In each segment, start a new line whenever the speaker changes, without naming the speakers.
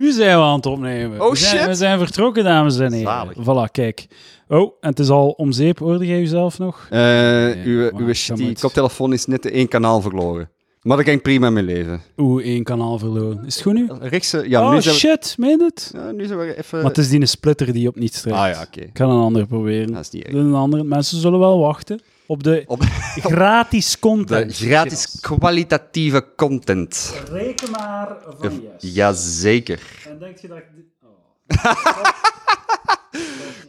Nu zijn we aan het opnemen.
Oh,
we, zijn,
shit.
we zijn vertrokken, dames en heren.
Zalig.
Voilà, kijk. Oh, en het is al om zeep, hoorde jij jezelf nog?
Eh, uw,
maar
uw
dat
shitty
moet.
koptelefoon is net één kanaal verloren. Maar dat kan ik prima mee leven.
Oeh, één kanaal verloren. Is het goed nu?
Rechtse, ja,
oh
nu zijn we...
shit, meen het?
Ja, nu zijn we even...
Maar het is die splitter die op niets trekt.
ah ja, oké.
Ik ga een ander proberen.
Dat is niet erg.
Een andere. Mensen zullen wel wachten op de
Op-
gratis
De
content.
gratis kwalitatieve content.
Reken maar van yes.
Jazeker.
En denk je dat ik... dit- Oh.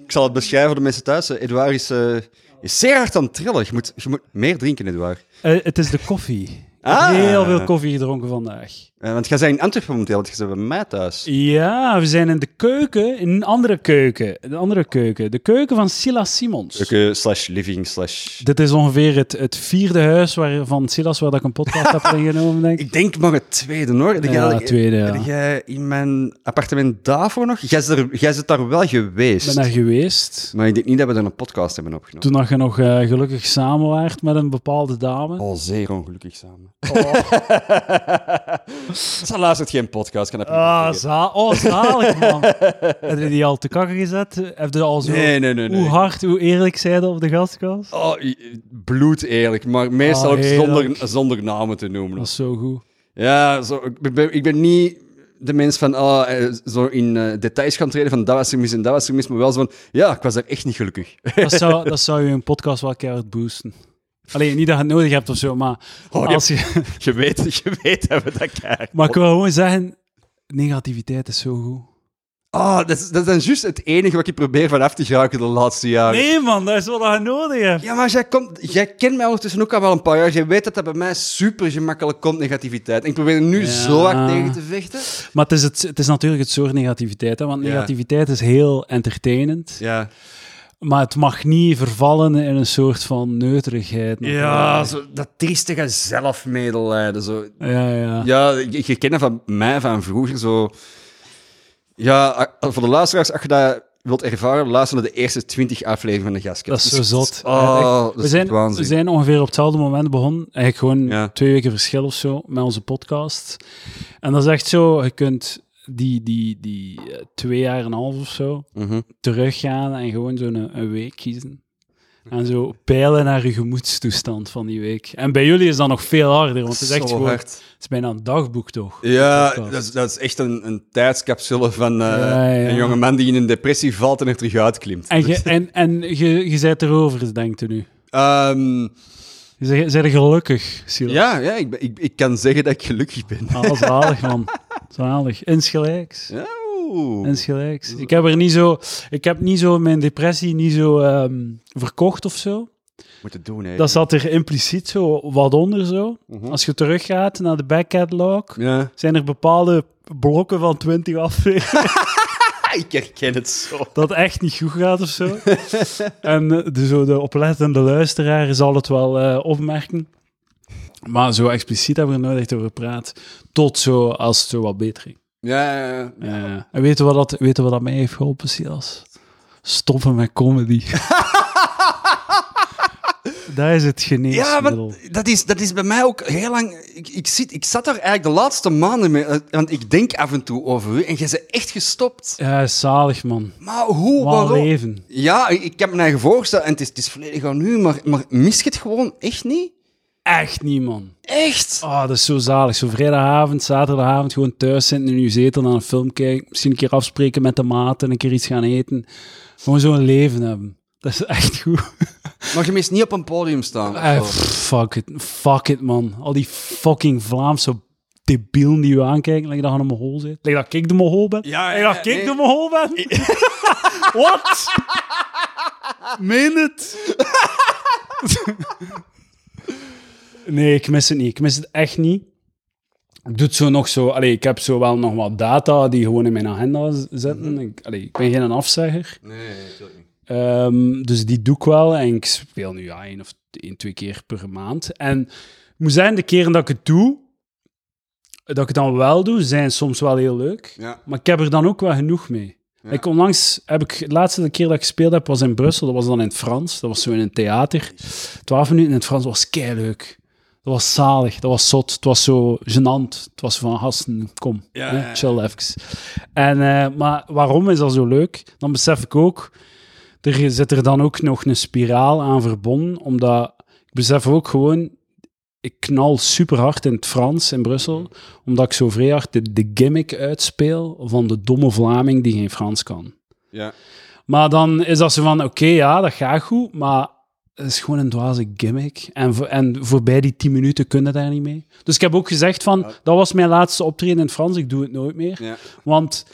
Ik zal het beschrijven voor de mensen thuis. Eh, Edouard is, eh, is zeer hard aan het trillen. Je moet, je moet meer drinken, Edouard.
Eh, het is de koffie. Ik heb
Ah.
heel veel koffie gedronken vandaag.
Eh, want jij bent in Antwerpen momenteel, want jij bent bij mij thuis.
Ja, we zijn in de keuken, in een andere keuken. Een andere keuken. De keuken van Silla Simons.
Keuken slash living slash...
Dit is ongeveer het, het vierde huis waar, van Silas waar dat ik een podcast heb ingenomen, denk ik.
Ik denk maar het tweede, hoor. Heb
Ja,
jij-
het tweede, ja.
Heb jij in mijn appartement daarvoor nog? Jij zit, er- jij zit daar wel
Ik
geweest.
ben daar geweest.
Maar ik denk niet dat we daar een podcast hebben opgenomen.
Toen dat je nog eh, gelukkig samen waart met een bepaalde dame.
Al Oh, zeer ongelukkig samen.
Oh.
Ze luistert geen podcast, kan dat niet
Ah,
zeggen.
za oh, zalig, man. Heb je die al te kakken gezet? Heb je al zo...
Nee, nee, nee. nee.
Hoe hard, hoe eerlijk zij dat op de gastkast?
Oh, i- bloed eerlijk, maar meestal
Ah,
ook
heerlijk.
zonder, zonder namen te noemen.
Dat is zo goed.
Ja, zo, ik, ben, ik ben niet de mens van ah, eh, zo in eh, details gaan treden van dat was er mis en dat was er mis, maar wel zo van ja, ik was daar echt niet gelukkig.
Dat zou, dat zou je een podcast wel keihard boosten. Alleen niet dat je het nodig hebt of zo, maar,
Oh, die-
als je,
je, weet, je weet dat we dat krijgen.
maar ik wil gewoon zeggen: negativiteit is zo goed.
Ah, dat, is, dat is dan juist het enige wat ik probeer van af te geraken de laatste jaren.
Nee, man, dat is wat je nodig hebt.
Ja, maar jij, komt, jij kent mij ondertussen ook al wel een paar jaar. Jij weet dat dat bij mij super gemakkelijk komt, negativiteit. En ik probeer er nu
Ja.
zo hard tegen te vechten.
Maar het is, het, het is natuurlijk het soort negativiteit, hè, want
Ja.
negativiteit is heel entertainend.
Ja,
Maar het mag niet vervallen in een soort van neuterigheid.
ja zo, dat triestige zelfmedelijden. Zo.
ja, ja.
Ja, je, je kent dat van mij van vroeger. Zo. Ja, a- voor de luisteraars, als je dat wilt ervaren, luister naar de eerste twintig afleveringen van de Gasket.
Dat is zo zot.
Oh,
dus Echt.
dat
we,
is
zijn,
echt waanzin.
we zijn ongeveer op hetzelfde moment begonnen. Eigenlijk gewoon
Ja.
twee weken verschil of zo met onze podcast. En dat is echt zo, je kunt die, die, die eh, twee jaar en een half of zo
Mhm.
teruggaan en gewoon zo'n eh, een, een week kiezen. En zo peilen naar je gemoedstoestand van die week. En bij jullie is dat nog veel harder, want het is echt
Zo
gewoon...
hard.
Het is bijna een dagboek, toch?
Ja,
podcast.
dat is, dat is echt een, een tijdscapsule van eh,
Ja, ja.
een jonge man die in een depressie valt en er terug uitklimt.
En je, en, en je, je bent erover, denkt u nu.
Ehm,
Je bent- zijn er gelukkig, Silas.
ja, ja ik, ben- ik, ik kan zeggen dat ik gelukkig ben.
Ah, zalig, man. Zalig. Insgelijks.
Ja, oeh.
Insgelijks. Ik heb er niet zo... Ik heb niet zo mijn depressie niet zo ehm, verkocht of zo.
Moet het doen, hè.
Dat zat er impliciet zo wat onder zo.
Mhm.
Als je teruggaat naar de back catalog,
Ja.
zijn er bepaalde blokken van 20 afleveringen
Ah, ik herken het zo.
dat echt niet goed gaat of zo. en eh, de, zo, de oplettende luisteraar zal het wel eh, opmerken. Maar zo expliciet hebben we er nooit echt over gepraat. Tot zo als het zo wat beter ging.
Ja, ja, ja.
Ja. En weet je, wat dat, weet je wat dat mij heeft geholpen, Silas? Stoppen met comedy. dat is het
Ja,
geneesmiddel.
want dat is, dat is bij mij ook heel lang... Ik, ik, zit, ik zat er eigenlijk de laatste maanden mee, eh, want ik denk af en toe over u en jij bent echt gestopt.
Ja, zalig, man.
Maar hoe,
Wat
waarom?
leven.
Ja, ik, ik heb mijn eigen voorstel en het is, het is volledig aan u, maar, maar mis je het gewoon echt niet?
Echt niet, man.
Echt?
Ah, dat is zo zalig. Zo vrijdagavond, zaterdagavond gewoon thuis zitten in uw zetel naar een film kijken. Misschien een keer afspreken met de maat en een keer iets gaan eten. Gewoon zo'n leven hebben. Dat is echt goed.
Maar je mist niet op een podium staan. Oh.
Eh, pff, fuck it. Fuck it, man. Al die fucking Vlaamse debielen die u aankijken, lijkt dat je een Mohol zit. Lijkt dat ik de Mohol ben.
Ja,
Lijkt dat
ja,
ik
nee.
de Mohol ben. Wat? Meen het? nee, ik mis het niet. Ik mis het echt niet. Ik doe het zo nog zo... Allee, ik heb zo wel nog wat data die gewoon in mijn agenda z- zitten. Ik, allee, ik ben geen afzegger.
Nee, natuurlijk niet.
Ehm, dus die doe ik wel. En ik speel nu ja, één of één, twee keer per maand. En ik moet zijn, de keren dat ik het doe, dat ik het dan wel doe, zijn soms wel heel leuk.
Ja.
Maar ik heb er dan ook wel genoeg mee.
Ja.
Ik onlangs heb ik, de laatste keer dat ik gespeeld heb, was in Brussel. Dat was dan in het Frans. Dat was zo in een theater. Twaalf minuten in het Frans was kei leuk. Dat was zalig, dat was zot, het was zo gênant. Het was van, gasten, kom,
Ja,
hè,
ja, ja.
chill even. En, eh, maar waarom is dat zo leuk? Dan besef ik ook, er zit er dan ook nog een spiraal aan verbonden, omdat ik besef ook gewoon, ik knal super hard in het Frans in Brussel,
Mhm.
omdat ik zo vrij hard de, de gimmick uitspeel van de domme Vlaming die geen Frans kan.
Ja.
Maar dan is dat zo van, oké, ja, dat gaat goed, maar het is gewoon een dwaze gimmick. En, voor, en voorbij die tien minuten kunnen daar niet mee. Dus ik heb ook gezegd van, dat was mijn laatste optreden in het Frans, ik doe het nooit meer.
Ja.
Want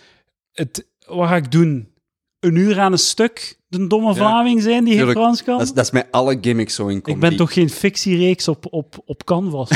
het, wat ga ik doen? Een uur aan een stuk de domme Vlaming zijn die geen
Tuurlijk.
Frans kan?
Dat, is, dat is met alle gimmicks zo in
ik
comedy.
ben toch geen fictiereeks op, op, op Canvas?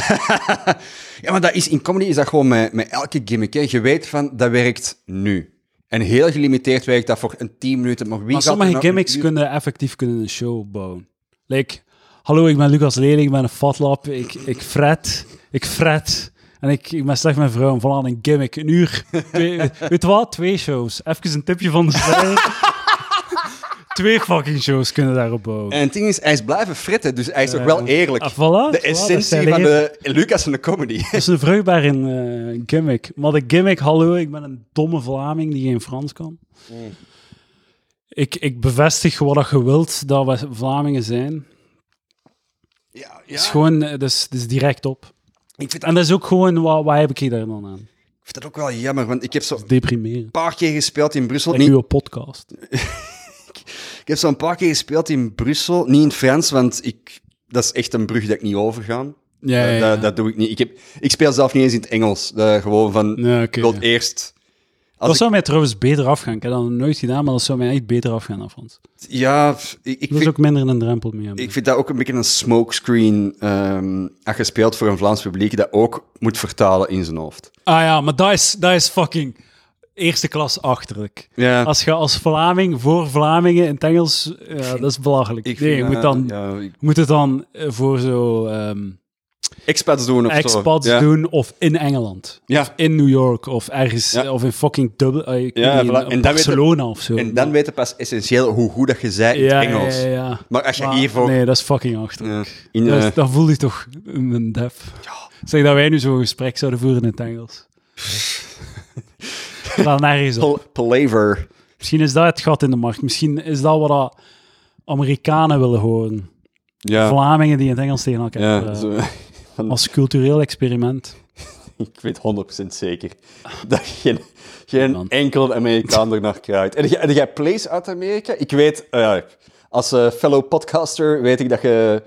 Ja, maar dat is, in comedy is dat gewoon met, met elke gimmick. Hè. Je weet van, dat werkt nu. En heel gelimiteerd werkt dat voor een 10 minuten. Maar, wie
Maar
gaat er
sommige
nou
gimmicks
een uur-
kunnen effectief kunnen een show bouwen. Like, hallo, ik ben Lucas Lely, ik ben een fatlap, ik, ik fret, ik fret. En ik, ik ben slecht met vrouwen, voilà, een gimmick, een uur. Twee, weet je wat? Twee shows. Even een tipje van de sluier. Twee fucking shows kunnen daarop bouwen.
En het ding is, hij is blijven fritten, dus hij is toch wel eerlijk.
Ah, voilà,
de
voilà, dat
essentie
zijn
van
de-
de Lucas en de comedy.
Dat is een vruchtbare eh, gimmick. Maar de gimmick, hallo, ik ben een domme Vlaming die geen Frans kan.
Mm.
Ik, ik bevestig wat dat je wilt dat we Vlamingen zijn.
Ja,
Het is gewoon, eh, dus, dus direct op.
Ik vind, dat,
En dat is ook gewoon, waar, waar heb ik hier daar dan aan?
ik vind dat ook wel jammer, want ik heb zo een
Deprimeren.
paar keer gespeeld in Brussel.
Like
Niet,
uw podcast.
ik heb zo een paar keer gespeeld in Brussel, niet in het Frans, want ik, dat is echt een brug dat ik niet overga.
Ja,
Eh, Dat, dat doe ik niet. Ik, heb, ik speel zelf niet eens in het Engels. Eh, gewoon van,
Nee, oké,
ik wil
ja.
eerst...
Dat
Als ik,
zou mij trouwens beter afgaan. Ik heb dat nog nooit gedaan, maar dat zou mij echt beter afgaan dan Frans.
ja, ik, ik
Dat
vind,
is ook minder een drempel mee hebben.
ik vind dat ook een beetje een smokescreen. ehm als je speelt voor een Vlaams publiek, dat ook moet vertalen in zijn hoofd.
Ah ja, maar dat is, dat is fucking eerste klas achterlijk.
Ja,
Als je als Vlaming voor Vlamingen in het Engels, ja, dat is belachelijk.
ik
nee,
vind
je
dat-
moet, dan,
ja, ik-
moet het dan eh, voor zo ehm
expats doen of zo.
expats
Ja.
doen of in Engeland.
Ja.
In New York of ergens,
Ja.
eh, of in fucking Dublin, eh, ik
Ja,
weet niet,
voilà.
in
En dan weet
Barcelona of zo.
En dan weten pas essentieel hoe goed dat je zei in
ja,
het Engels.
Ja, ja, ja.
Maar als je
Maar
hiervoor...
Nee, dat is fucking achterlijk.
Ja, in,
Dat is-
eh,
dan voel je toch een een def. Zeg dat wij nu zo'n gesprek zouden voeren in het Engels. dan nergens op.
Pal- Palaver.
Misschien is dat het gat in de markt. Misschien is dat wat dat Amerikanen willen horen.
Ja,
Vlamingen die in het Engels tegen elkaar
ja
praten.
zo, Eh, van-
Als cultureel experiment.
ik weet 100% zeker dat geen, geen enkel Amerikaan er naar kruidt. En jij- en jij plays uit Amerika? Ik weet, eh, ja, als eh, fellow podcaster weet ik dat je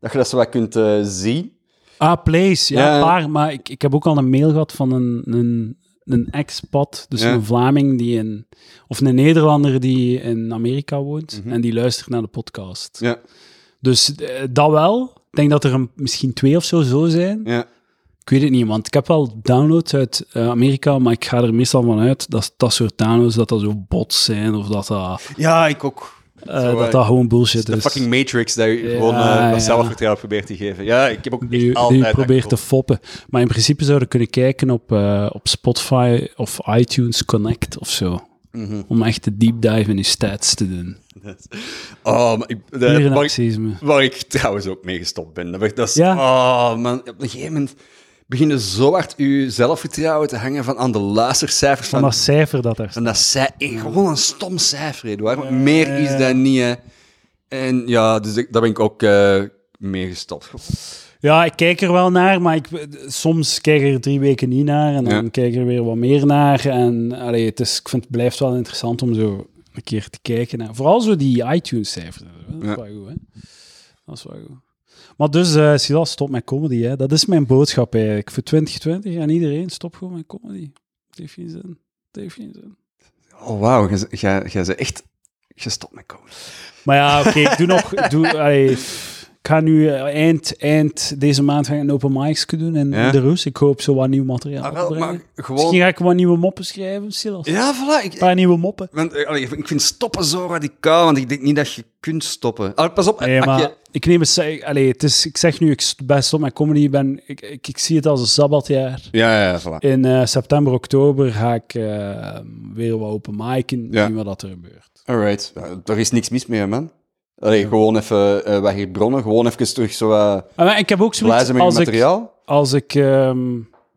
dat, je dat zo wat kunt eh, zien.
Ah, place. Ja,
Ja.
paar. Maar ik, ik heb ook al een mail gehad van een, een, een expat. Dus
Ja.
een Vlaming die in... Of een Nederlander die in Amerika woont. En die luistert naar de podcast.
Mhm. Ja,
Dus eh, dat wel. Ik denk dat er een, misschien twee of zo zo zijn.
ja.
Ik weet het niet, want ik heb wel downloads uit eh, Amerika, maar ik ga er meestal van uit dat dat soort downloads, dat dat zo bots zijn of dat dat,
ja ik ook.
eh,
Zo,
dat,
eh,
dat gewoon bullshit
De
is.
fucking Matrix, dat je gewoon eh,
ja.
dat zelfvertrouwen probeert te geven. Ja, ik heb ook echt
die, die
altijd... dat
probeert te
gevoel.
foppen. Maar in principe zouden we kunnen kijken op, eh, op Spotify of iTunes Connect of zo.
Mhm.
Om echt de deep dive in je stats te doen.
Oh, maar ik, de-
Puur in
maar ik-
marxisme.
Waar ik trouwens ook mee gestopt ben. Dat, werd- dat is,
Ja.
Oh man, op een gegeven moment begin je zo hard je zelfvertrouwen te hangen van aan de luistercijfers van,
Van
van,
dat cijfer dat daar staat.
dat zij eh, gewoon een stom cijfer, Edouard. Maar meer is dat niet, hè. En ja, dus ik, daar ben ik ook eh, mee gestopt.
Ja, ik kijk er wel naar, maar ik, soms kijk ik er drie weken niet naar en dan
Ja.
kijk ik er weer wat meer naar. En allee, het, is, ik vind, het blijft wel interessant om zo een keer te kijken. Naar. Vooral zo die iTunes-cijfers. Dat is
Ja.
wel goed, hè? Dat is wel goed. Maar dus, eh Silas, stop met comedy. Hè. Dat is mijn boodschap eigenlijk. Voor 2020 en iedereen, stop gewoon met comedy. Het heeft geen zin. Het heeft geen zin.
Oh wauw, jij- jij jij bent echt gestopt met komen.
Maar ja, oké, ik doe nog... ik Doe, allee, ik ga nu eh, eind, eind deze maand ga ik een open mics doen in
Ja.
de Roes. Ik hoop zo wat nieuw materiaal
Maar,
te
Ah, wel,
brengen.
maar
Misschien
gewoon...
ga ik wat nieuwe moppen schrijven, Silas. Een
Ja, voilà. Ik,
paar nieuwe moppen.
want, eh, allee, ik vind stoppen zo radicaal, want ik denk niet dat je kunt stoppen. Ah, pas op,
Nee,
als
maar
je-
ik neem het... Allee, het is, ik zeg nu, ik st- ben stop met comedy. ik Ben, ik, ik, ik zie het als een sabbatjaar.
Ja, ja, ja, voilà.
In eh, september, oktober ga ik eh, weer wat open micen.
Ja.
Zien wat dat er gebeurt.
Alright. Ja, daar is niks mis mee, man. Allee, Gewoon even eh weg hier bronnen. Gewoon even terug zo eh
Ah, maar ik heb ook zoiets,
blazen met je
als ik,
materiaal.
als, ik, ehm,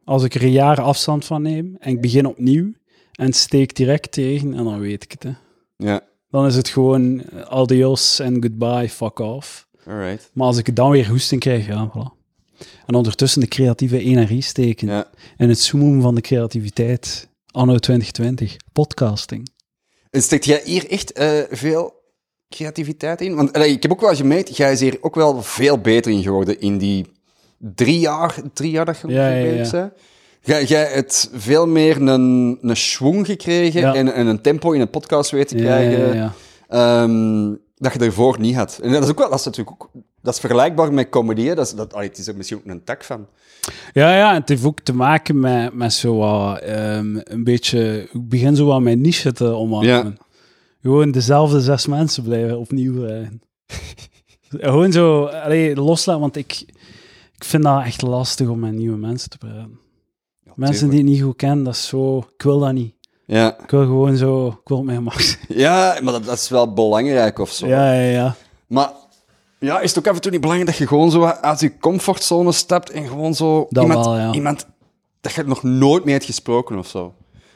als ik er een jaar afstand van neem en ik begin opnieuw en het steekt direct tegen en dan weet ik het. Hè.
Ja,
Dan is het gewoon eh, adios en goodbye, fuck off.
alright.
Maar als ik het dan weer hoesting krijg, ja, voilà. En ondertussen de creatieve energie steken
Ja.
en het zoomen van de creativiteit. Anno 2020, podcasting.
En Steekt jij hier echt eh, veel creativiteit in? Want allee, ik heb ook wel gemerkt, jij is hier ook wel veel beter in geworden in die drie jaar, drie jaar dat je
Ja,
ongeveer
ja,
bezig
ja.
bent. Jij, jij hebt veel meer een, een schwung gekregen
Ja.
en, en een tempo in een podcast weten te
Ja,
krijgen.
ja, ja.
ehm, dat je daarvoor niet had. En dat is ook wel, dat is natuurlijk ook, dat is vergelijkbaar met comedy. hè. Dat is, dat, allee, het is er misschien ook een tak van.
Ja, ja, en het heeft ook te maken met, met zo wat, ehm, een beetje... Ik begin zo wat mijn niche te omarmen. Gewoon dezelfde zes mensen blijven opnieuw. eh. Gewoon zo allee, loslaten, want ik, ik vind dat echt lastig om met nieuwe mensen te praten.
Ja,
Mensen die
tuurlijk.
ik niet goed ken, dat is zo... Ik wil dat niet.
Ja.
Ik wil gewoon zo... Ik wil op mijn gemak zijn.
ja, maar dat, dat is wel belangrijk of zo.
Ja, ja, ja.
Maar ja, is het ook af en toe niet belangrijk dat je gewoon zo wat uit je comfortzone stapt en gewoon zo
Dat
iemand,
wel, ja.
iemand dat je nog nooit mee hebt gesproken of zo.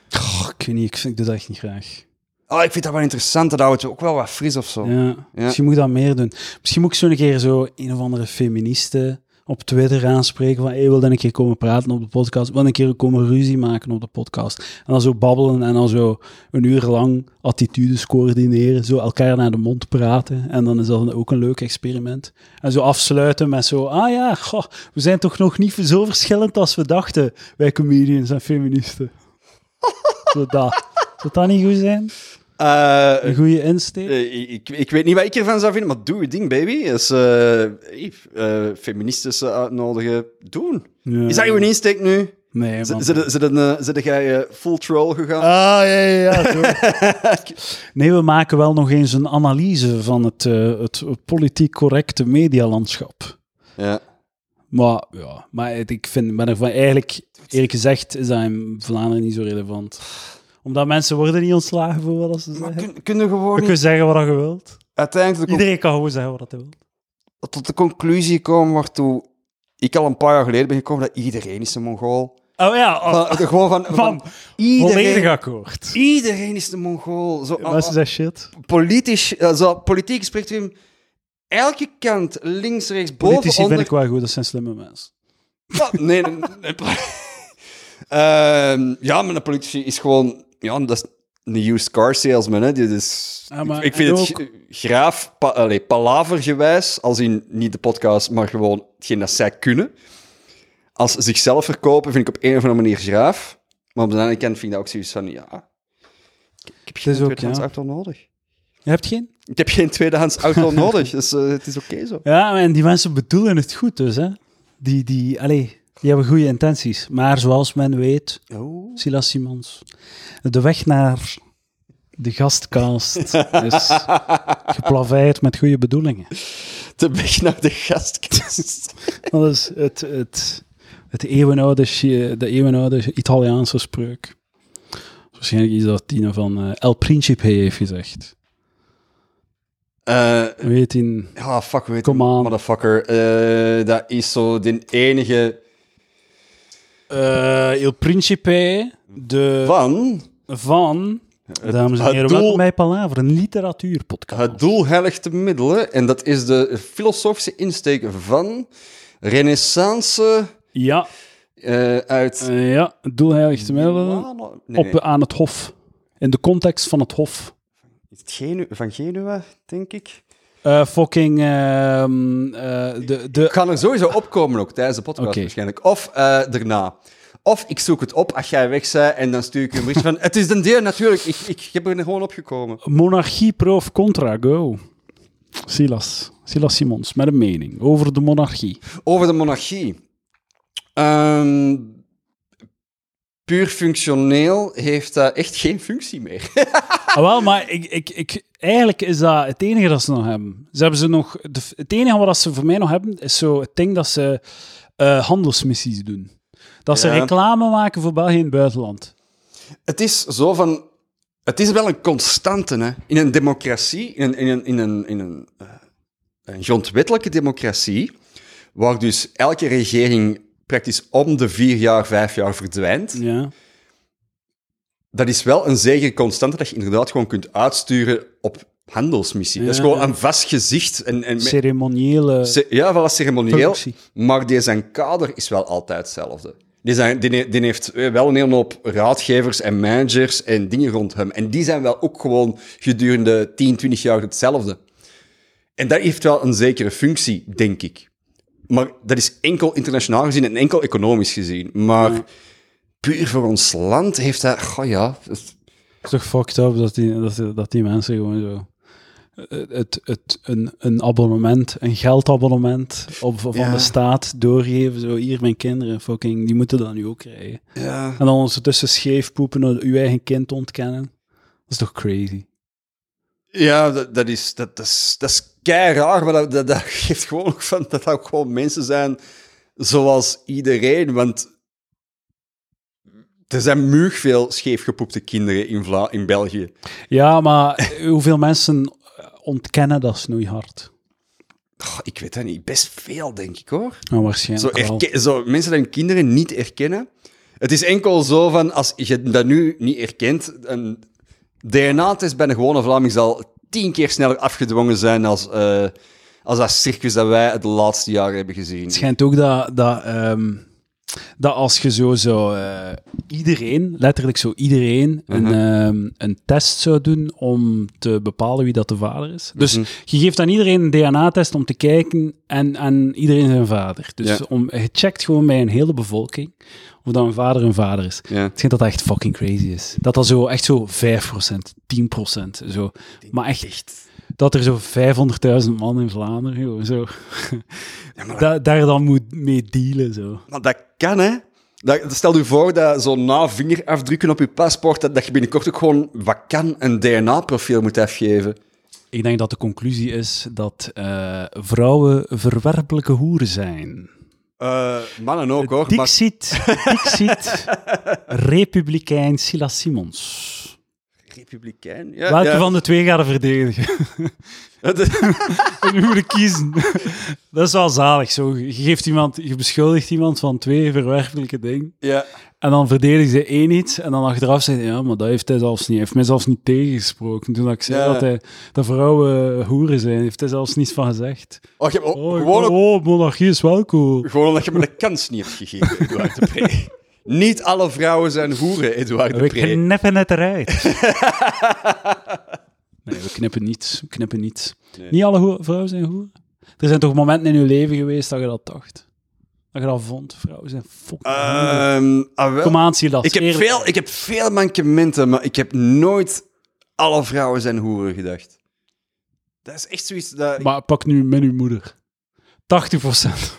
Goh, ik weet niet, ik, vind, ik doe dat echt niet graag.
Oh, ik vind dat wel interessant, dat houdt je ook wel wat fris of zo.
Ja. Misschien moet ik dat meer doen. Misschien moet ik zo een keer zo een of andere feministe op Twitter aanspreken van, hey, wil dan een keer komen praten op de podcast? Wil een keer komen ruzie maken op de podcast? En dan zo babbelen en dan zo een uur lang attitudes coördineren, zo elkaar naar de mond praten. En dan is dat ook een leuk experiment. En zo afsluiten met zo, ah ja, goh, we zijn toch nog niet zo verschillend als we dachten, wij comedians en feministen. zo dat. Zou dat niet goed zijn?
Eh,
Een goede insteek?
eh, ik, ik weet niet wat ik ervan zou vinden, maar doe je ding, baby. Dus, eh eh, eh, feministische uitnodigen, doen.
Ja.
Is dat jouw insteek nu?
Nee,
Z-
man.
Zitten zitten, eh, zitten jij eh, full troll gegaan?
Ah, ja, ja, ja. zo. nee, we maken wel nog eens een analyse van het, eh, het politiek correcte medialandschap.
Ja.
Maar, ja, maar het- ik vind, ben ervan eigenlijk, eerlijk gezegd, is dat in Vlaanderen niet zo relevant. Omdat mensen worden niet ontslagen voor wat ze
Maar
zeggen.
kun, kun je gewoon
Je
niet
kunt zeggen wat je wilt.
uiteindelijk de
Iedereen kan gewoon zeggen wat hij wil.
tot de conclusie komen waartoe ik al een paar jaar geleden ben gekomen dat iedereen is een Mongool.
Oh ja, oh,
Van, gewoon van, van
man, volledig
iedereen,
akkoord.
iedereen is een Mongool. Zo, al-
Mensen
al-
zeggen shit.
politisch, eh, zo, politiek spreekt u hem elke kant, links, rechts, boven,
Politici vind
onder.
ik wel goed, dat zijn slimme mensen.
Ja, nee, nee, nee. Ehm, ja, maar een politici is gewoon... Ja, dat is een used car salesman. Hè. Dit is,
Ja, maar
ik, ik vind het
ook-
g- graaf, pa, allee, palavergewijs, als in niet de podcast, maar gewoon hetgeen dat zij kunnen. Als ze zichzelf verkopen, vind ik op een of andere manier graaf. Maar op de andere kant vind ik dat ook zoiets van, ja... Ik heb geen
is ook,
tweedehands
ja.
auto nodig.
Je hebt geen?
Ik heb geen tweedehands auto nodig, dus eh, het is oké zo.
Ja, en die mensen bedoelen het goed dus, hè. Die, die, allee, die hebben goede intenties. Maar zoals men weet, Silas Simons, de weg naar de gastkast is geplaveid met goede bedoelingen.
De weg naar de gastkast.
Dat is het, het, het eeuwenoude, chi- de eeuwenoude Italiaanse spreuk. Waarschijnlijk iets dat Tino van eh, El Principe heeft gezegd.
Eh,
Weet in...
Ja, fuck, weet
Come on.
motherfucker. Eh, dat is zo de enige
El Eh, Principe, de...
van...
van, dames en
het
heren,
doel-
welkom bij Palaver, een literatuurpodcast.
Het doel heiligt de middelen. En dat is de filosofische insteek van renaissance
Ja,
eh, uit...
eh, ja, het doel heiligt de middelen
Milano? Nee,
op,
nee.
aan het hof. In de context van het hof.
Is het Genu- van Genua, denk ik.
Eh, fucking, ehm, eh, de,
Ik
de,
ga er sowieso opkomen ook, tijdens de podcast
Oké.
waarschijnlijk. Of eh, daarna. Of ik zoek het op als jij weg bent en dan stuur ik je een bericht van... Het is een deel, natuurlijk. Ik, ik, heb er gewoon opgekomen.
monarchie pro of contra, go. Silas, Silas Simons, met een mening over de monarchie.
Over de monarchie. Ehm, puur functioneel heeft dat echt geen functie meer.
Ah, wel, maar ik, ik, ik, eigenlijk is dat het enige dat ze nog hebben. Ze hebben ze nog, de, het enige wat ze voor mij nog hebben, is zo het ding dat ze eh, handelsmissies doen. Dat ze
Ja.
reclame maken voor België in het buitenland.
Het is zo van. Het is wel een constante, hè. In een democratie, in een, in een, in een, in een, eh, een grondwettelijke democratie, waar dus elke regering praktisch om de vier jaar, vijf jaar verdwijnt,
Ja.
dat is wel een zekere constante dat je inderdaad gewoon kunt uitsturen op handelsmissie. Dat is
Ja,
gewoon
ja.
een vast gezicht. En, en met-
Ceremoniële...
Ce- Ja, wel wat ceremonieel.
Functie.
Maar die zijn kader is wel altijd hetzelfde. Die, zijn, die, ne- die heeft eh, wel een hele hoop raadgevers en managers en dingen rond hem. En die zijn wel ook gewoon gedurende 10, 20 jaar hetzelfde. En dat heeft wel een zekere functie, denk ik. Maar dat is enkel internationaal gezien en enkel economisch gezien. Maar puur voor ons land heeft dat... Goh ja, dat-
Het is toch fucked up dat die, dat, die- dat die mensen gewoon zo... eh, Het, het, een, een abonnement, een geldabonnement op, van
Ja.
de staat doorgeven. Zo, hier, mijn kinderen, fucking, die moeten dat nu ook krijgen.
ja.
En dan ondertussen scheef poepen, uw eigen kind ontkennen. Dat is toch crazy?
Ja, dat, dat is, dat, dat is, dat is kei raar, maar dat, dat, dat geeft gewoon ook van dat dat ook gewoon mensen zijn zoals iedereen. Want er zijn muug veel scheefgepoepte kinderen in, Vla in België.
Ja, maar hoeveel mensen ontkennen dat snoeihard?
Goh, ik weet dat niet, best veel denk ik hoor.
Nou,
Zo,
waarschijnlijk wel.
erke- zo, mensen die hun kinderen niet erkennen. Het is enkel zo van, als je dat nu niet erkent, een DNA-test bij een gewone Vlaming zal tien keer sneller afgedwongen zijn als, eh, als dat circus dat wij het laatste jaar hebben gezien.
Het schijnt ook dat, dat, ehm, dat als je zo, zo eh, iedereen, letterlijk zo iedereen,
Mhm.
een, ehm, een test zou doen om te bepalen wie dat de vader is. Dus
Mhm.
je geeft aan iedereen een DNA-test om te kijken en aan iedereen zijn vader. Dus
Ja.
om, je checkt gewoon bij een hele bevolking of dat een vader een vader is.
Ja.
Het schijnt dat dat echt fucking crazy is. Dat dat zo echt zo 5%, 10%, zo. Maar echt, dat er zo 500.000 man in Vlaanderen, joh, zo. Da- daar dan moet mee dealen, zo.
Maar dat kan, hè. Dat, stel je voor dat zo'n na vingerafdrukken op je paspoort, dat, dat je binnenkort ook gewoon, wat kan, een DNA-profiel moet afgeven.
Ik denk dat de conclusie is dat eh, vrouwen verwerpelijke hoeren zijn.
Eh, mannen ook, hoor. maar-
Dixit, Dixit, Republikein Silas Simons.
Republikein? Ja,
Welke
ja.
van de twee gaat er verdedigen? Je moet er kiezen. Dat is wel zalig. Zo. Je, geeft iemand, je beschuldigt iemand van twee verwerpelijke dingen.
ja.
En dan verdedigen ze één iets. En dan achteraf zeggen ja, maar dat heeft hij zelfs niet. Hij heeft mij zelfs niet tegengesproken. Toen ik zei
Ja.
dat, hij, dat vrouwen hoeren zijn, heeft hij zelfs niets van gezegd.
Oh, je hebt ook-
Oh,
gewoon, ook-
oh, monarchie is wel cool.
gewoon omdat je me de kans niet hebt gegeven, Eduard de Pre. Niet alle vrouwen zijn hoeren, Eduard de
We
Pre.
knippen het eruit. nee, we knippen niet. We knippen niet. Niet alle hoer- vrouwen zijn hoeren. Er zijn toch momenten in je leven geweest dat je dat dacht? Dat je dat vond? Vrouwen zijn fucking hoeren.
Ehm, ah, wel.
Kom aan, Silas.
Ik heb,
eerlijk.
veel, ik heb veel mankementen, maar ik heb nooit alle vrouwen zijn hoeren gedacht. Dat is echt zoiets dat...
Maar pak nu met uw moeder. 80 procent.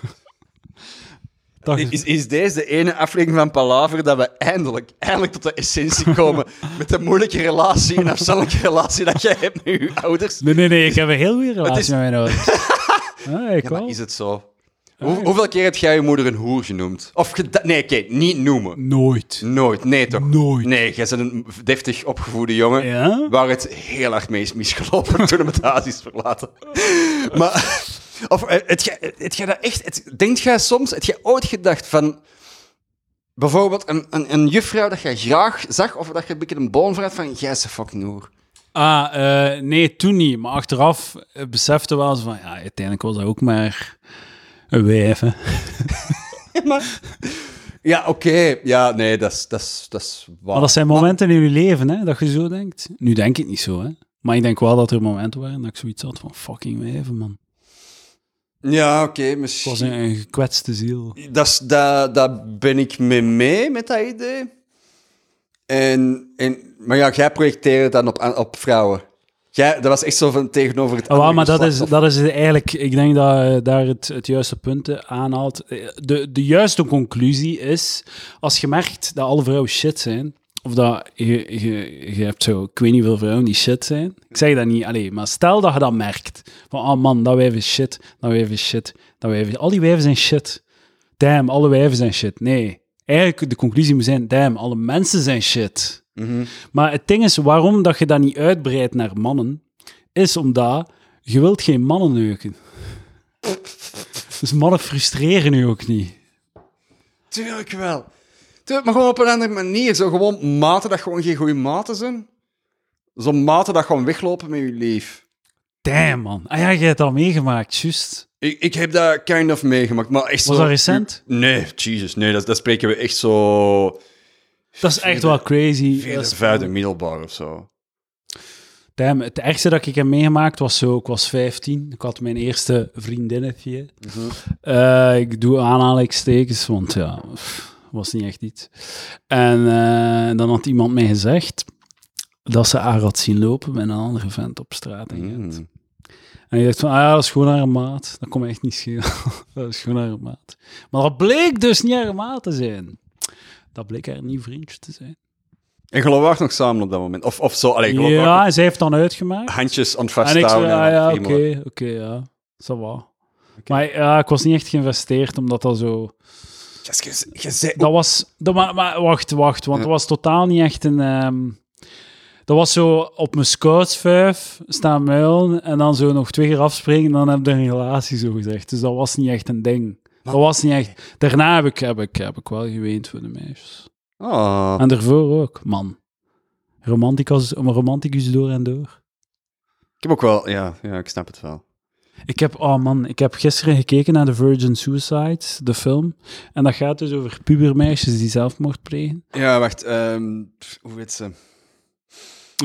Is, is deze de ene aflevering van Palaver dat we eindelijk, eindelijk tot de essentie komen met de moeilijke relatie en afstandelijke relatie dat jij hebt met je ouders?
Nee, nee, nee. Ik heb een heel goede relatie
is-
met mijn ouders. Ja, ik
Ja,
wel. Ah,
maar is het zo? Hoe- hoeveel keer heb jij je moeder een hoer genoemd? Of geda- Nee, oké, niet noemen.
Nooit.
Nooit, nee toch?
Nooit.
Nee, jij bent een deftig opgevoede jongen
Ja?
waar het heel erg mee is misgelopen toen hem het huis is verlaten. maar, of, eh, het, jij- het, jij dat echt, het, denkt jij soms, het jij ooit gedacht van, bijvoorbeeld een, een, een juffrouw dat jij graag zag, of dat je een beetje een boom vraagt van, jij is een fucking hoer.
Ah, eh, nee, toen niet. Maar achteraf eh, besefte wel eens van... Ja, uiteindelijk was dat ook maar een wijf, hè.
Ja, oké, ja, nee, dat is- dat is- dat is waar.
Maar dat zijn momenten in je leven, hè, dat je zo denkt. Nu denk ik niet zo, hè. Maar ik denk wel dat er momenten waren dat ik zoiets had van... Fucking wijven, man.
Ja, oké,
Ik was
misschien.
een, een gekwetste ziel.
Dat is- daar daar ben ik mee mee met dat idee. En, en, maar ja, jij projecteert dan op, aan- op vrouwen. Jij, dat was echt zo van tegenover het
Ah, wel,
andere
maar dat is,
geslacht, of-
dat is eigenlijk, ik denk dat eh, daar het, het juiste punt eh, aanhaalt. Eh, De, de juiste conclusie is, als je merkt dat alle vrouwen shit zijn, of dat je, je, je hebt zo, ik weet niet hoeveel vrouwen die shit zijn. Ik zeg dat niet, alleen, maar stel dat je dat merkt. Van, oh man, dat wijf is shit, dat wijf is shit, dat wijf is... Al die wijven zijn shit. Damn, alle wijven zijn shit. Nee, eigenlijk de conclusie moet zijn, damn, alle mensen zijn shit.
Mhm.
Maar het ding is, waarom dat je dat niet uitbreidt naar mannen, is omdat je wilt geen mannen neuken. Dus mannen frustreren u ook niet.
Oh, Tuurlijk wel. Tuurlijk, maar gewoon op een andere manier. Zo gewoon maten dat gewoon geen goede maten zijn. Zo maten dat gewoon weglopen met je lief.
Damn, man. Ah ja, jij hebt dat meegemaakt, juist.
Ik, ik heb dat kind of meegemaakt, maar echt zo...
Was dat recent?
Nee, Jesus, nee, dat, dat spreken we echt zo...
Dat is echt wel crazy. Dat
Vierde,
is-
vijfde middelbaar of zo.
Damn, het ergste dat ik heb meegemaakt was zo, ik was 15. Ik had mijn eerste vriendinnetje. Eh, ik doe aanhalingstekens, want ja, pff, was niet echt iets. En eh, dan had iemand mij gezegd dat ze haar had zien lopen met een andere vent op straat. in Gent.
Mm.
En je dacht van, ah ja, dat is gewoon haar maat. Dat kon me echt niet schelen. dat is gewoon haar maat. Maar dat bleek dus niet haar maat te zijn. Dat bleek haar nieuw vriendje te zijn.
En geloofwaardig nog samen op dat moment. Of, of zo, alleen geloofwaardig
Ja, en zij heeft dan uitgemaakt.
handjes aan het
En ik zei,
vasthouden.
ah, ja,
aan
oké,
het friemelen.
oké, ja. Ça va. Maar ja, ik was niet echt geïnvesteerd, omdat dat zo...
Yes, je- je zei-
Dat was... Dat, maar, maar wacht, wacht. Want dat was totaal niet echt een... ehm, dat was zo op mijn scoutsvuif staan muilen en dan zo nog twee keer afspringen en dan heb je een relatie, zo gezegd. Dus dat was niet echt een ding. Dat was niet echt... Daarna heb ik, heb ik, heb ik wel geweend voor de meisjes.
Ah.
En daarvoor ook, man. Romanticus, een romanticus door en door.
Ik heb ook wel... Ja, ja, ik snap het wel.
Ik heb, oh man, ik heb gisteren gekeken naar The Virgin Suicides, de film. En dat gaat dus over pubermeisjes die zelfmoord plegen.
Ja, wacht. ehm, pff, hoe heet ze?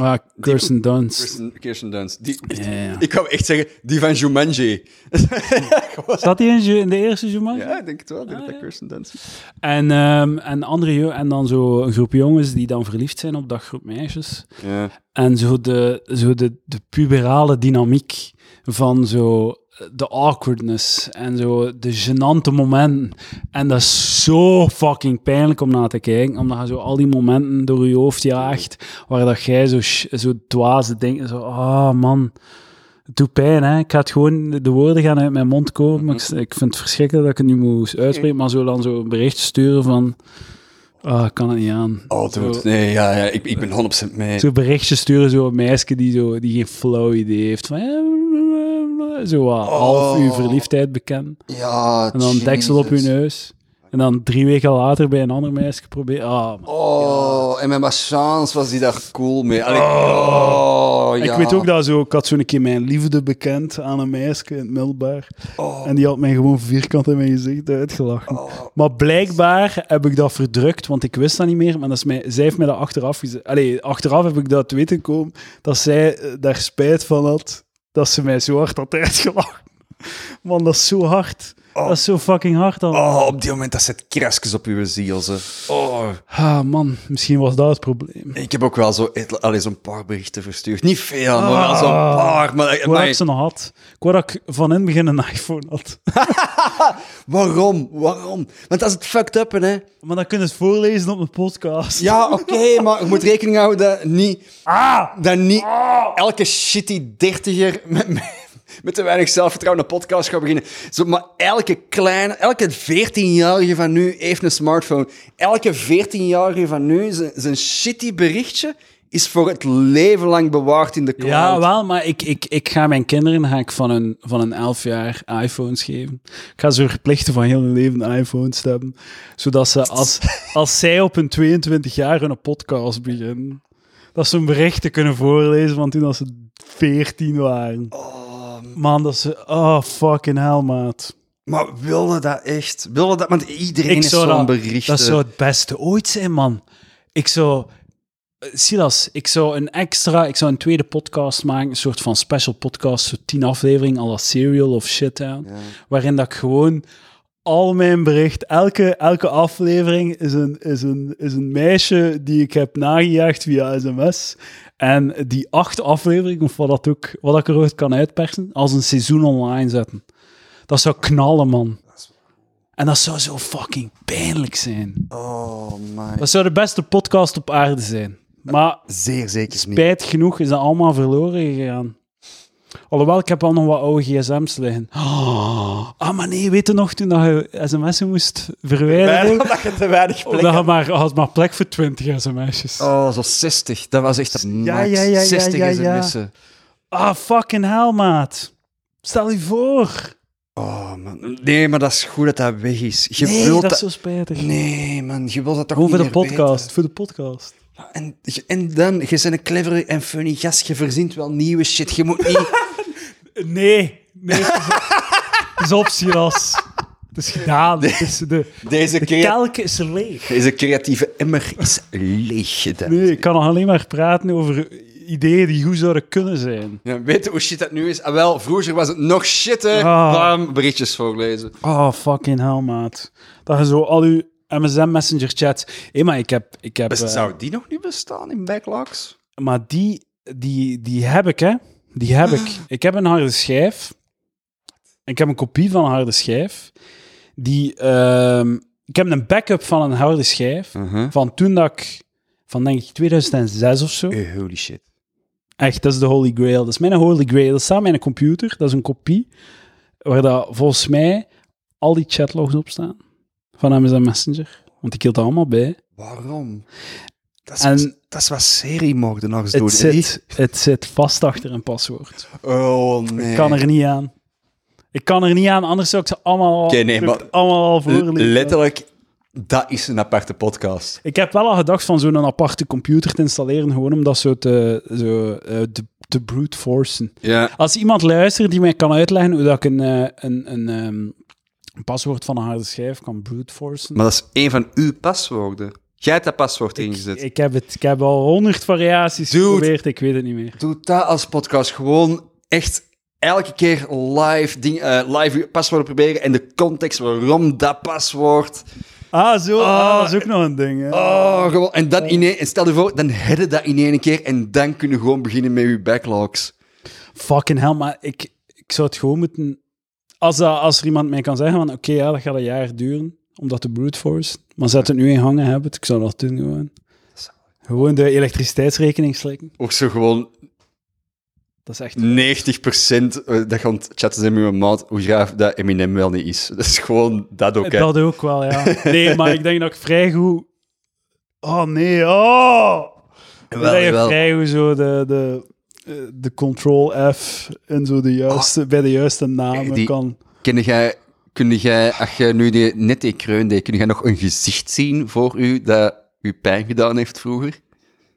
Ah, Kirsten Dunst.
Kirsten, Kirsten Dunst. Die,
Ja, ja.
Ik kan echt zeggen, die van Jumanji. Gewoon-
Zat die in, Ju- in de eerste Jumanji?
ja, ik denk het wel. Ik denk dat
Oh, Ah, ja.
dat Kirsten Dunst is.
En, ehm, en, andere, jo- en dan zo een groep jongens die dan verliefd zijn op dat groep meisjes.
Ja.
En zo de, zo de, de puberale dynamiek van zo eh, de awkwardness en zo de gênante momenten. En dat is zo fucking pijnlijk om naar te kijken, omdat je zo al die momenten door je hoofd jaagt, waar dat jij zo, sh- zo dwaze dingen, zo, ah man, het doet pijn hè. Ik ga het gewoon, de woorden gaan uit mijn mond komen, maar ik, ik vind het verschrikkelijk dat ik het nu moet uitspreken, maar zo dan zo een bericht sturen van, ah, ik kan het niet aan.
Oh, dude. Nee, ja, ja ik, ik ben 100% mee.
Zo berichtjes sturen, zo'n meisje die, zo, die geen flauw idee heeft. Van, ja, zo wat, half uur verliefdheid bekend.
Ja,
En dan deksel op je
Jesus.
neus. En dan drie weken later bij een ander meisje proberen. Ah, man.
Oh, en met Machans was hij daar cool mee. Allee, oh, ja.
Ik weet ook dat zo, ik had zo'n keer mijn liefde bekend aan een meisje in het middelbaar.
Oh.
En die had mij gewoon vierkant in mijn gezicht uitgelachen. Maar blijkbaar heb ik dat verdrukt, want ik wist dat niet meer. Maar dat is mij, zij heeft mij dat achteraf gezegd. Allee, achteraf heb ik dat te weten gekomen dat zij eh, daar spijt van had dat ze mij zo hard had uitgelachen. Man, dat is zo hard. Dat is zo fucking hard dan.
Oh, op die moment, dat zet krasjes op uw ziel, ze. Oh.
Ah, man, misschien was dat het probleem.
Ik heb ook wel zo, allee, zo'n paar berichten verstuurd. Niet veel, maar
Ah.
zo'n paar. Maar,
Ik wou dat
maar-
ik ze nog had. Ik wou dat ik van in het begin een iPhone had.
waarom? Waarom? Want dat is het fucked up, hè.
Maar dan kun je het voorlezen op mijn podcast.
Ja, oké, maar je moet rekening houden dat niet,
Ah!
dat niet elke shitty dertiger met, met, met te weinig zelfvertrouwen een podcast gaat beginnen. Zo, maar elke kleine, elke 14-jarige van nu heeft een smartphone. Elke 14-jarige van nu, zijn, zijn shitty berichtje is voor het leven lang bewaard in de cloud.
Ja, wel, maar ik, ik, ik ga mijn kinderen ga ik van, een, van een 11 jaar iPhones geven. Ik ga ze verplichten van heel hun leven iPhones te hebben. Zodat ze, als, als zij op hun 22 jaar hun podcast beginnen, dat ze hun berichten kunnen voorlezen van toen dat ze 14 waren. Man, dat ze... Oh, fucking hell, maat.
Maar wilde dat echt? Wilde dat? Want iedereen
Ik
is
zou
zo'n
dat,
bericht.
dat zou het beste ooit zijn, man. Ik zou... eh, Silas, ik zou een extra... Ik zou een tweede podcast maken, een soort van special podcast, zo tien afleveringen, à la Serial of shit, hè, waarin dat ik gewoon al mijn bericht, elke, elke aflevering is een, is, een, is een meisje die ik heb nagejaagd via sms. En die acht afleveringen, of wat, dat ook, wat ik eruit kan uitpersen, als een seizoen online zetten. Dat zou knallen, man. En dat zou zo fucking pijnlijk zijn.
Oh my.
Dat zou de beste podcast op aarde zijn. Maar
Zeer zeker niet.
spijt genoeg is dat allemaal verloren gegaan. Alhoewel, ik heb al nog wat oude gsm's liggen. Oh, ah, maar nee, weet je nog toen dat je sms'en moest verwijderen?
Omdat je te weinig plek
Dat had maar, had maar plek voor 20 sms'jes.
Oh, zo 60. Dat was echt een
Ja,
max.
ja, ja, ja,
60
ja,
is
ja.
missen.
Ah, fucking hell, maat. Stel je voor.
Oh, man. Nee, maar dat is goed dat dat weg is. Je
Nee,
wilt
dat is
dat-
zo spijtig.
Nee, man. Je wilt dat toch
Gewoon voor
niet
de
meer
podcast. Voor de podcast.
weten? En, en dan, je bent een clever en funny gast. Je verzint wel nieuwe shit. Je moet niet...
Nee. Nee. Het is op, Silas. Het is gedaan. Het is de,
Deze
de
keer...
kelk is leeg.
Deze creatieve emmer is leeg. dames.
Nee, ik kan nog alleen maar praten over ideeën die goed zouden kunnen zijn.
Ja, weet je hoe shit dat nu is? Ah, wel, vroeger was het nog shitter.
Ah.
Bam, berichtjes voorlezen.
Oh, fucking hell, maat. Dat je zo al uw MSN Messenger chat. Hé, maar ik heb... Ik heb
Best-
eh,
Zou die nog niet bestaan in backlogs?
maar die, die, die heb ik, hè. Die heb ik. Ik heb een harde schijf. Ik heb een kopie van een harde schijf. Die, ehm, ik heb een backup van een harde schijf. Van toen dat ik... Van denk ik 2006 of zo.
Eh, holy shit.
Echt, dat is de Holy Grail. Dat is mijn Holy Grail. Dat staat op mijn computer. Dat is een kopie. Waar dat volgens mij al die chatlogs op staan. Van Amazon Messenger. Want ik hield dat allemaal bij.
Waarom? Dat is,
En-
dat is wat seriemoordenaars doen.
Het
hè?
zit, het zit vast achter een paswoord.
Oh, nee.
Ik kan er niet aan. Ik kan er niet aan, anders zou ik ze allemaal al,
Oké, nee,
zou ik
maar-
allemaal al voorlezen.
Letterlijk, dat is een aparte podcast.
Ik heb wel al gedacht van zo'n aparte computer te installeren, gewoon om dat zo te, zo, eh, te, te brute forcen.
Ja.
Als iemand luistert die mij kan uitleggen hoe dat ik een, eh, een, een, ehm, een paswoord van een harde schijf kan brute forcen.
Maar dat is één van uw paswoorden. Jij hebt dat paswoord ingezet.
Ik heb, het, ik heb al honderd variaties
Dude.
geprobeerd, ik weet het niet meer.
Doe dat als podcast. Gewoon echt elke keer live, ding, eh, live uw paswoorden proberen en de context waarom dat paswoord.
Ah, zo,
ah,
dat is ook nog een ding. Hè.
Oh, gewoon. En, dan in één, en stel je voor, dan hebben dat in één keer en dan kun je gewoon beginnen met je backlogs.
Fucking hell, maar ik, ik zou het gewoon moeten... Als, dat, als er iemand mij kan zeggen van, oké, ja, dat gaat een jaar duren, omdat de brute force, maar zet het nu in hangen, hebben het, ik zou dat doen gewoon. Gewoon de elektriciteitsrekening slikken.
Of zo gewoon 90%
Dat is echt...
eh, dat gaan chatten zijn met mijn maat, hoe graaf dat Eminem wel niet is. Dat is gewoon dat ook, hè.
Dat ook wel, ja. Nee, maar ik denk dat ik vrij goed... Oh, nee, oh! Ik
Wel,
denk dat je
wel.
vrij goed zo de, de, eh, de control F en zo de juiste, bij de juiste namen
Ah. die-
kan...
Kun jij, kun jij, als je nu die, net die kreun deed, kun jij nog een gezicht zien voor u dat u pijn gedaan heeft vroeger?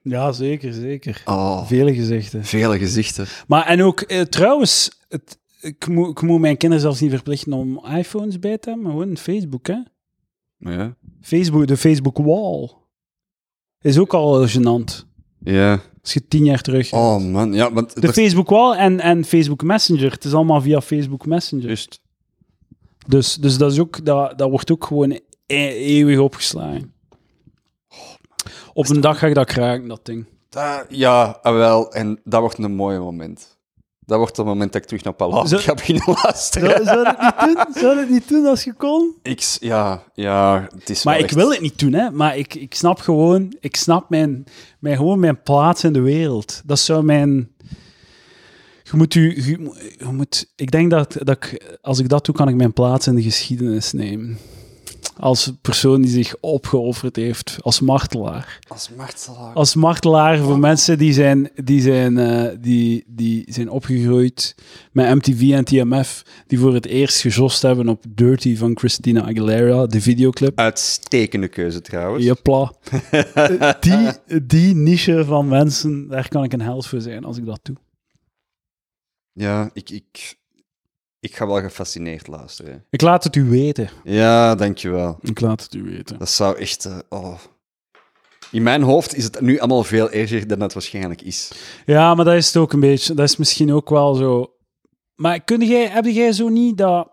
Ja, zeker, zeker.
Oh,
Vele gezichten.
vele gezichten.
Maar en ook, eh, trouwens, het, ik, moet, ik moet mijn kinderen zelfs niet verplichten om iPhones bij te hebben, maar gewoon Facebook, hè.
Ja.
Facebook, de Facebook wall. Is ook al gênant.
Ja.
Als je tien jaar terug...
Oh man, ja, want...
de Facebook wall en, en Facebook Messenger. Het is allemaal via Facebook Messenger.
Juist.
Dus, dus dat, is ook, dat, dat wordt ook gewoon e- eeuwig opgeslagen. Op een dag ga ik dat kraken, dat ding.
Da- ja, ah, wel. En dat wordt een mooi moment. Dat wordt het moment dat ik terug naar Palau
Zo-
ga beginnen luisteren.
Zou, zou dat niet doen? Zou dat niet doen als je kon?
Ik, s- ja, ja, het is
Maar
wel
ik
echt-
wil het niet doen, hè. Maar ik, ik snap gewoon... Ik snap mijn, mijn, gewoon mijn plaats in de wereld. Dat zou mijn... Je moet u... Je, mo- je moet, ik denk dat, dat ik... Als ik dat doe, kan ik mijn plaats in de geschiedenis nemen. Als persoon die zich opgeofferd heeft. Als martelaar.
Als martelaar.
Als martelaar voor mensen die zijn, die zijn, eh, die, die zijn opgegroeid met MTV en TMF. Die voor het eerst gejost hebben op Dirty van Christina Aguilera. De videoclip.
Uitstekende keuze trouwens.
Jepla. die, die niche van mensen, daar kan ik een held voor zijn als ik dat doe.
Ja, ik, ik, ik ga wel gefascineerd luisteren. hè.
Ik laat het u weten.
Ja, dankjewel.
Ik laat het u weten.
Dat zou echt... eh, oh. In mijn hoofd is het nu allemaal veel erger dan het waarschijnlijk is.
Ja, maar dat is het ook een beetje. Dat is misschien ook wel zo. Maar kun jij, heb jij zo niet dat.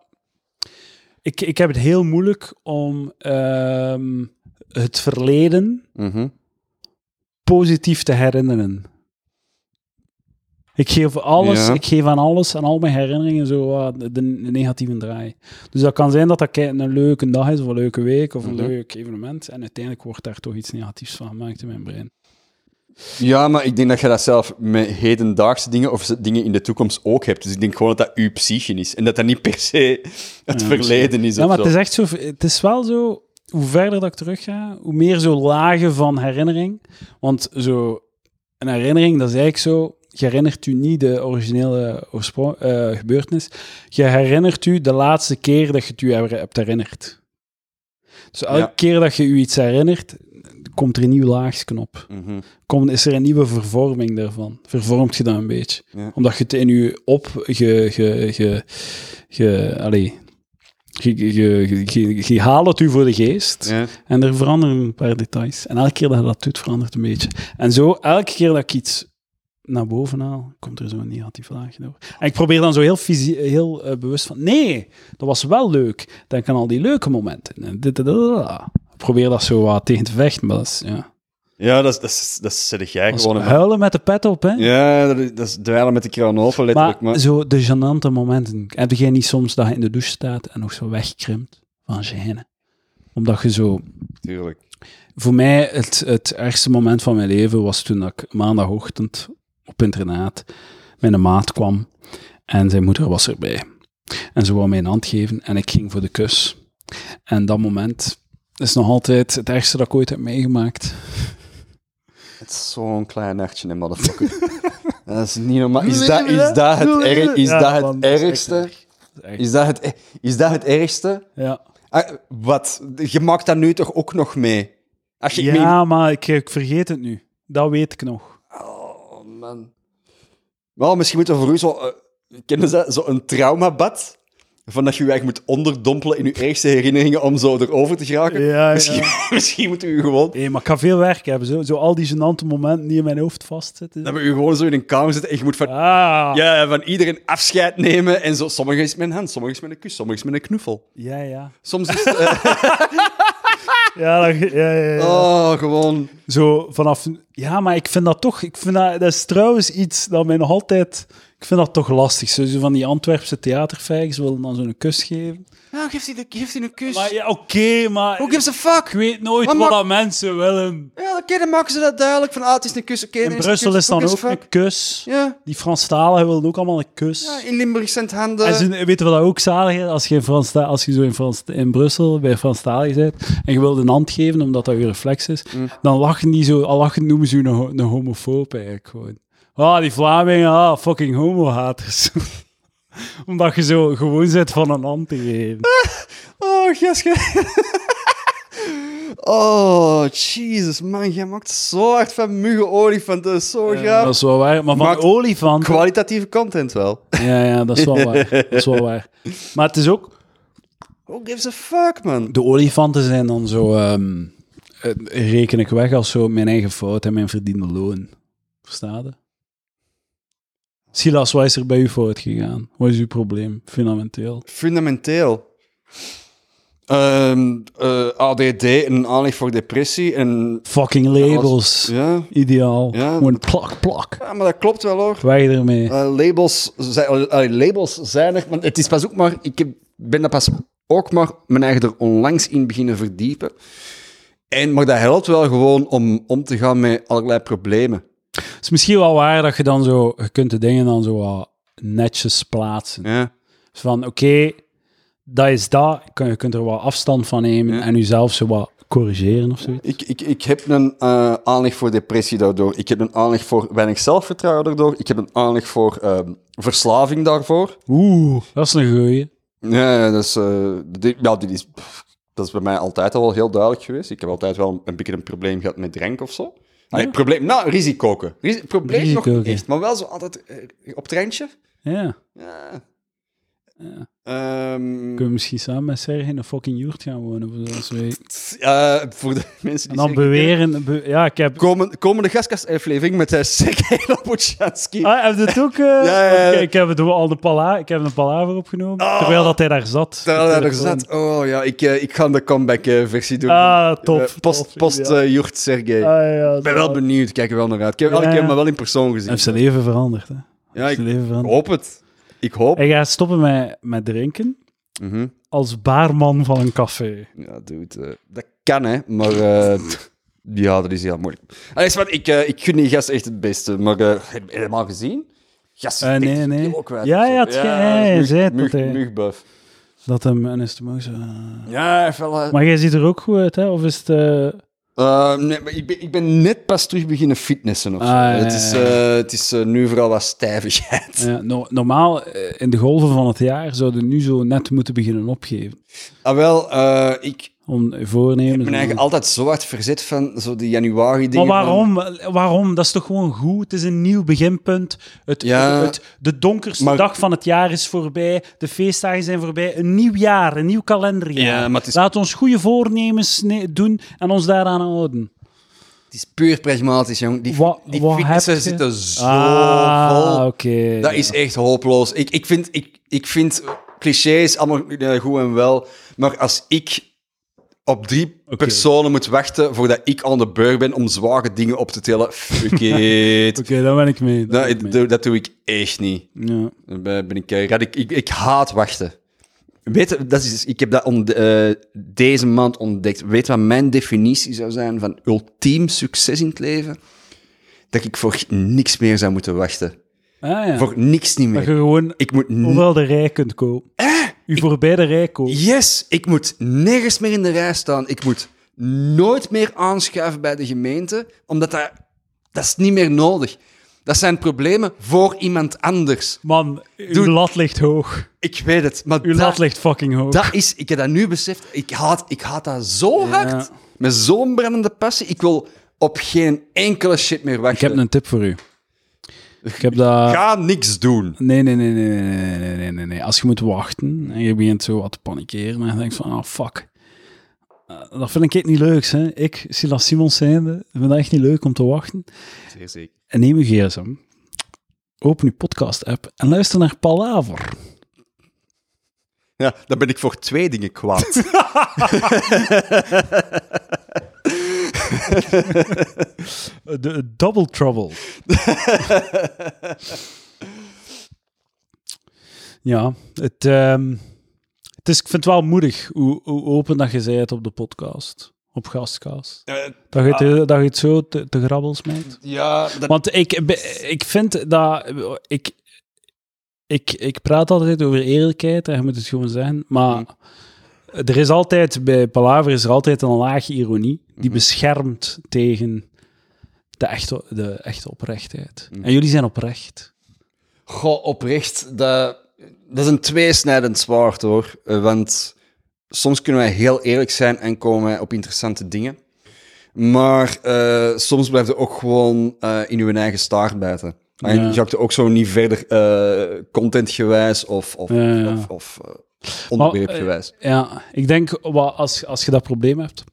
Ik, ik heb het heel moeilijk om ehm, het verleden
Mhm.
positief te herinneren. Ik geef, alles,
Ja.
ik geef aan alles, aan al mijn herinneringen, zo wat de, de negatieve draai. Dus dat kan zijn dat dat kei- een leuke dag is, of een leuke week, of een
Mhm.
leuk evenement. En uiteindelijk wordt daar toch iets negatiefs van gemaakt in mijn brein.
Ja, maar ik denk dat je dat zelf met hedendaagse dingen of z- dingen in de toekomst ook hebt. Dus ik denk gewoon dat dat uw psyche is. En dat dat niet per se het verleden is.
Ja,
of
maar
zo.
het is echt zo... Het is wel zo... Hoe verder dat ik terug ga, hoe meer zo lagen van herinnering. Want zo... Een herinnering, dat is eigenlijk zo... Je herinnert u niet de originele oorspro- eh, gebeurtenis. Je herinnert u de laatste keer dat je het u her- hebt herinnerd. Dus elke
Ja.
keer dat je u iets herinnert, komt er een nieuw laagje op.
Mhm.
Komt, is er een nieuwe vervorming daarvan? Vervormt je dat een beetje?
Ja.
Omdat je het in je op... Je, je, je, je, allee, je, je, je, je- je haalt het u voor de geest
Ja.
en er veranderen een paar details. En elke keer dat je dat doet, verandert een beetje. En zo, elke keer dat ik iets naar boven haal, komt er zo'n negatief laagje door. En ik probeer dan zo heel, fysi- heel eh, bewust van... Nee, dat was wel leuk. Denk aan al die leuke momenten. En dit, dit, dit, dit. Ik probeer dat zo wat tegen te vechten, maar dat is... Ja.
Ja, dat, is- dat, is- dat zeg jij
Dat is
gewoon. een-
huilen met de pet op, hè?
Ja, dat is, dat is dweilen met de kraan open,
Maar,
letterlijk. Maar,
zo de gênante momenten. Heb jij niet soms dat je in de douche staat en nog zo wegkrimpt van gêne? Omdat je zo...
Tuurlijk.
Voor mij, het, het ergste moment van mijn leven was toen ik maandagochtend op internaat mijn maat kwam en zijn moeder was erbij. En ze wou mij een hand geven en ik ging voor de kus. En dat moment is nog altijd het ergste dat ik ooit heb meegemaakt.
Het is zo'n klein hartje, hè, motherfucker. dat is niet normaal. Is dat, is dat het, erg, is
Ja,
dat
man,
het
dat is echt
ergste?
erg. Dat is echt-
Is dat het, e- is dat het ergste?
Ja.
Ah, wat? Je maakt dat nu toch ook nog mee? Als je ik meen-
Ja, maar ik, ik vergeet het nu. Dat weet ik nog.
Oh, man. Wel, misschien moeten we voor u zo... eh, kennen ze dat? Zo'n traumabad? Van dat je je eigenlijk moet onderdompelen in je ergste herinneringen om zo erover te geraken.
Ja, ja.
misschien, misschien moeten we u gewoon...
Hé, maar ik ga veel werk hebben. Zo, zo al die gênante momenten die in mijn hoofd vastzitten.
Dat we u gewoon zo in een kamer zitten en je moet van,
Ah, ja.
ja, van iedereen afscheid nemen. En zo, sommige is met een hand, sommige is met een kus, sommige is met een knuffel.
ja, ja.
Soms is het... eh,
Ja, dat- ja, ja, ja.
oh, gewoon...
Zo vanaf... Ja, maar ik vind dat toch... Ik vind dat, dat is trouwens iets dat mij nog altijd... Ik vind dat toch lastig. Zo zo van die Antwerpse theaterfijgers willen dan zo'n kus geven.
Nou, geef die, de- geef die een kus.
Maar ja, oké, maar...
Who gives a fuck?
Ik weet nooit
Maar
wat
ma-
dat mensen willen.
Ja, oké, dan maken ze dat duidelijk. Van, ah, het is een kus. Oké, dan
In
het
Brussel
een
is
kus.
dan
Who
ook
gives a
een
fuck?
kus.
Ja.
Die Franstaligen willen ook allemaal een kus.
Ja, in Limburg zijn het handen.
En ze, weet je wat dat ook zalig is? Als je, in Frans, als je zo in, Frans, in Brussel bij Franstalig bent en je wilt een hand geven, omdat dat je reflex is, dan lachen die zo, al lachen noemen ze je een, ho- een homofoob eigenlijk gewoon. Ah, die Vlamingen, ah, fucking homohaters. omdat je zo gewoon bent van een hand te geven.
Oh, Geske. oh, Jesus, man. Jij maakt zo hard van muggen olifant. Dat is zo graaf.
Dat is wel waar, maar van
Maakt-
olifant...
Kwalitatieve content wel.
Ja, ja, dat is wel waar. Dat is wel waar. Maar het is ook...
Who gives a fuck, man?
De olifanten zijn dan zo... ehm, eh, reken ik weg als zo mijn eigen fout en mijn verdiende loon. Verstaan je? Silas, wat is er bij u fout gegaan? Wat is uw probleem, fundamenteel?
Fundamenteel. Ehm, eh, ADD en een aanleg voor depressie. En,
Fucking labels.
ja.
Ideaal.
Ja.
Gewoon plak, plak.
ja, maar dat klopt wel, hoor.
Weg ermee.
Eh, labels, zijn, eh, eh, labels zijn er, want het is pas ook maar, ik heb, ben dat pas ook maar mijn eigen er onlangs in beginnen verdiepen. En, maar dat helpt wel gewoon om om te gaan met allerlei problemen.
Het is misschien wel waar dat je dan zo... Je kunt de dingen dan zo wat netjes plaatsen.
Ja.
Dus van, oké, dat is dat. Je kunt- Je kunt er wat afstand van nemen
Ja.
en jezelf zo wat corrigeren of zoiets.
Ik, ik, ik heb een eh, aanleg voor depressie daardoor. Ik heb een aanleg voor weinig zelfvertrouwen daardoor. Ik heb een aanleg voor ehm, verslaving daarvoor.
Oeh, dat is een goeie.
Ja, ja, dat is, eh, dit, ja, dit is, pff, dat is bij mij altijd al wel heel duidelijk geweest. Ik heb altijd wel een, een beetje een probleem gehad met drank of zo. Allee, probleem, nou, risicoken. Ris- probleem nog niet
Risicoken.
echt, maar wel zo altijd eh, op het randje.
Ja.
Ja. Ehm,
Kunnen we misschien samen met Serge in een fucking joert gaan wonen? Of zo, als we-
t- eh, voor de mensen
En
die
dan
zeggen, eh,
beweren... be- ja, ik heb...
komen, komende gastkastaflevering met uh, Sergej Lobotchansky.
Ah, heb je het ook... eh,
ja, ja.
Ik, ik heb het al de pala, ik heb een palaver opgenomen,
Oh.
terwijl dat hij daar zat.
Terwijl hij er zat. Oh ja, ik, eh, ik ga de comeback-versie doen.
Ah, top.
Eh, post
top,
post
ideaal.
eh, Joert Sergej.
Ah, ja,
Ik ben wel benieuwd, kijk er wel naar uit. Ik heb,
Ja.
ik heb me wel in persoon
Hij heeft
gezien.
zijn leven veranderd, hè.
Ja, ik Oh.
Zijn leven veranderd.
hoop het. Ik hoop.
Hij gaat stoppen met, met drinken
Mhm.
als baarman van een café.
Ja, dude, eh, dat kan hè, maar eh, Ja, dat is heel moeilijk. Allee, is wat, ik, eh, ik gun die gast echt het beste, maar eh, heb je helemaal gezien? Gast, is
Eh, nee,
echt
nee.
kilo kwijt.
Ja, ja, het ge- ja, je
mug-
zei het,
mug-
dat hij-
mugbuff.
Dat hem een estimaat.
Ja, hij heeft wel... eh,
Maar jij ziet er ook goed uit, hè? Of is het. eh,
Eh, nee, maar ik, ben, ik ben net pas terug beginnen fitnessen. Of zo.
Ah, ja, ja,
Het is,
ja.
eh, het is eh, nu vooral wat stijvigheid.
ja, no- normaal, eh, in de golven van het jaar, zouden nu zo net moeten beginnen opgeven.
Ah, wel, eh, ik
Om voornemen.
ben eigenlijk altijd zo hard verzet van zo die januari
Maar
dingen.
waarom? Waarom? Dat is toch gewoon goed? Het is een nieuw beginpunt. Het,
Ja.
het, de donkerste
Maar-
dag van het jaar is voorbij. De feestdagen zijn voorbij. Een nieuw jaar, een nieuw kalenderjaar.
Ja, maar het is-
Laat ons goede voornemens ne- doen en ons daaraan houden.
Het is puur pragmatisch, jong. Die,
Wa-
die
wat
fitnessen
heb je?
zitten zo
ah,
vol.
oké.
Dat is echt hopeloos. Ik, ik, vind, ik, ik vind clichés allemaal eh, goed en wel, maar als ik op drie personen moet wachten voordat ik aan de beur ben om zware dingen op te tellen, fuck it.
Oké, daar ben ik mee. daar
Dat,
ben ik mee.
doe- dat doe ik echt niet.
Ja.
Daar ben ik, eh, rad- ik, ik, ik haat wachten. Weet, je, dat is, dus- ik heb dat ont- eh, deze maand ontdekt. Weet wat mijn definitie zou zijn van ultiem succes in het leven? Dat ik voor niks meer zou moeten wachten.
Ah, ja.
Voor niks niet
Dat je
meer.
gewoon
Ik moet n-
overal de rij kunt kopen. U voorbij de rij kopen.
Yes, ik moet nergens meer in de rij staan. Ik moet nooit meer aanschuiven bij de gemeente, omdat dat, dat is niet meer nodig. Dat zijn problemen voor iemand anders.
Man, uw
Doe-
lat ligt hoog.
Ik weet het, maar
Uw
dat-
lat ligt fucking hoog.
Dat is, ik heb dat nu beseft. Ik haat, ik haat dat zo
Ja.
hard. Met zo'n brandende passie. Ik wil op geen enkele shit meer
Ik heb eh,
wachten.
een tip voor u. Ik heb dat...
Eh, Ga niks doen.
Nee, nee, nee, nee, nee, nee, nee, nee, nee, nee. Als je moet wachten en je begint zo wat te panikeren en je denkt van, ah, fuck. Eh, dat vind ik echt niet leuk, hè. Ik, Silas Simons zijnde, vind dat echt niet leuk om te wachten.
Zeer zeker.
En neem uw gsm, open uw podcast-app en luister naar Palaver.
Ja, dan ben ik voor twee dingen kwaad.
Eh, De Double Trouble. ja, het, ehm, het is, ik vind het wel moedig hoe, hoe open dat je zei het op de podcast. Op gastcast.
Eh,
Dat je het, eh, dat je het zo te, te grabbel smijt.
ja, dat...
Want ik, be- ik vind dat... Ik, ik, ik praat altijd over eerlijkheid, en je moet het gewoon zeggen. Maar er is altijd, bij Palaver is er altijd een laagje ironie die beschermt tegen de echte, de echte oprechtheid. En jullie zijn oprecht.
Goh, oprecht. Dat, dat is een tweesnijdend zwaard, hoor. Eh, Want soms kunnen wij heel eerlijk zijn en komen wij op interessante dingen. Maar eh, soms blijft je ook gewoon eh, in uw eigen staart bijten. En
Ja.
je gaat er ook zo niet verder eh, contentgewijs of, of,
Ja, ja.
of, of eh, onderwerpgewijs.
Ja, ik denk, wat, als, als je dat probleem hebt,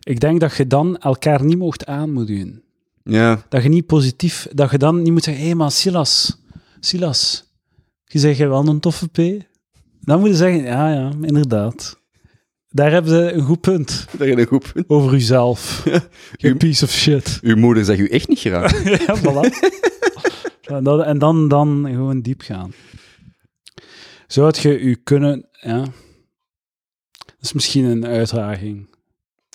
ik denk dat je dan elkaar niet mocht aanmoedigen.
ja.
Dat je niet positief, dat je dan niet moet zeggen: hé, maar Silas, Silas, je zegt jij wel een toffe P. Dan moet je zeggen: ja, ja, inderdaad. Daar hebben ze een goed punt
Daar in een groep.
over jezelf. Je piece of shit.
Uw moeder zegt u echt niet graag.
ja, voilà. en dan, en dan, dan gewoon diep gaan. Zou het je u kunnen. Ja. Dat is misschien een uitdaging.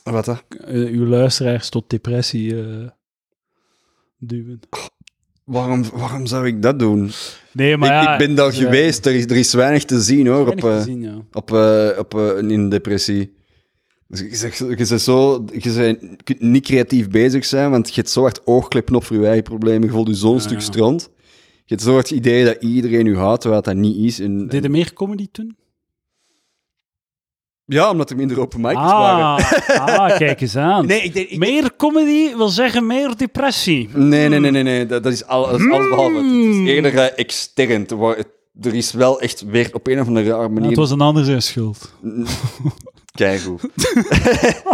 Wat dat?
Eh, uw luisteraars tot depressie eh, duwen.
Waarom, waarom zou ik dat doen?
Nee, maar
ik,
ja,
ik ben daar
ze-
geweest. Er is, er is weinig te zien, hoor.
weinig
op, eh,
gezien, ja.
op, eh, op eh, een in depressie. Dus je, zegt, je, zegt zo, je, zegt, je kunt niet creatief bezig zijn, want je hebt zo hard oogkleppen op voor je eigen problemen. Je voelt je zo'n stuk strand. Je hebt zo hard het idee dat iedereen je haat, terwijl dat niet is. En,
Deed er meer comedy toen?
ja, omdat er minder open mics waren.
Ah, ah, kijk eens aan.
Nee, ik denk... ik-
Meer comedy wil zeggen meer depressie.
nee, nee, nee, nee, nee, Dat, dat is al- dat is alles behalve. Het is eerder eh, extern. te waar- het- er is wel echt weer op een of andere rare
Het
manier...
was een ander zijn schuld.
Keigoed.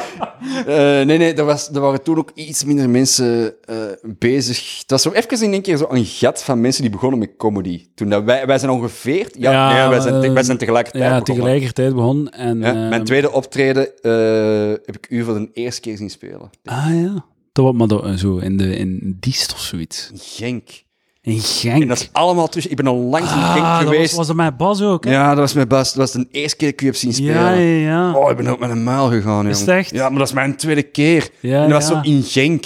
Eh, nee, nee, er, was, er waren toen ook iets minder mensen eh, bezig. Het was zo even in één keer zo een gat van mensen die begonnen met comedy. Toen dat wij, wij zijn ongeveer... Ja,
Ja,
nee, wij, zijn, te-
eh,
wij zijn tegelijkertijd
Ja,
begonnen.
tegelijkertijd begon en...
Ja,
eh,
mijn tweede optreden eh, heb ik u voor de eerste keer zien spelen.
eh, Ah ja. Dat was maar dat- zo in, de, in Diest of zoiets.
Genk.
In Genk.
En dat is allemaal tussen. Ik ben al langs in Genk
ah, dat was,
geweest.
was dat mijn Bas ook, hè?
Ja, dat was mijn best. Dat was de eerste keer dat ik u heb zien spelen.
ja, ja. ja.
Oh, ik ben ook met een muil gegaan,
Is
jongen.
het echt?
Ja, maar dat is mijn tweede keer.
Ja,
en dat was
ja.
zo in Genk.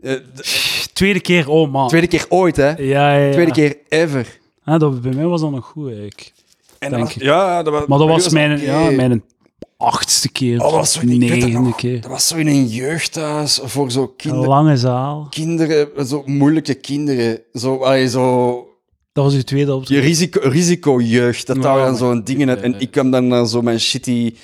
Eh, de
Tweede keer, oh man.
tweede keer ooit, hè.
ja, ja, ja.
Tweede keer ever.
Ah, dat, bij mij was dat nog goed, eigenlijk.
En
Denk
was-
ik.
ja, dat was,
Maar dat was
oké.
mijn, ja, mijn achtste keer,
Oh, dat was zo in, ik weet dat
negende
nog.
keer.
Dat was zo in een jeugdhuis voor zo
Een
kinder,
lange zaal.
kinderen, zo moeilijke kinderen. Zo, allee, zo
Dat was uw tweede opdracht.
Je risico, risicojeugd, dat daar dan zo'n dingen uit. En ik kwam dan eh, zo mijn shitty,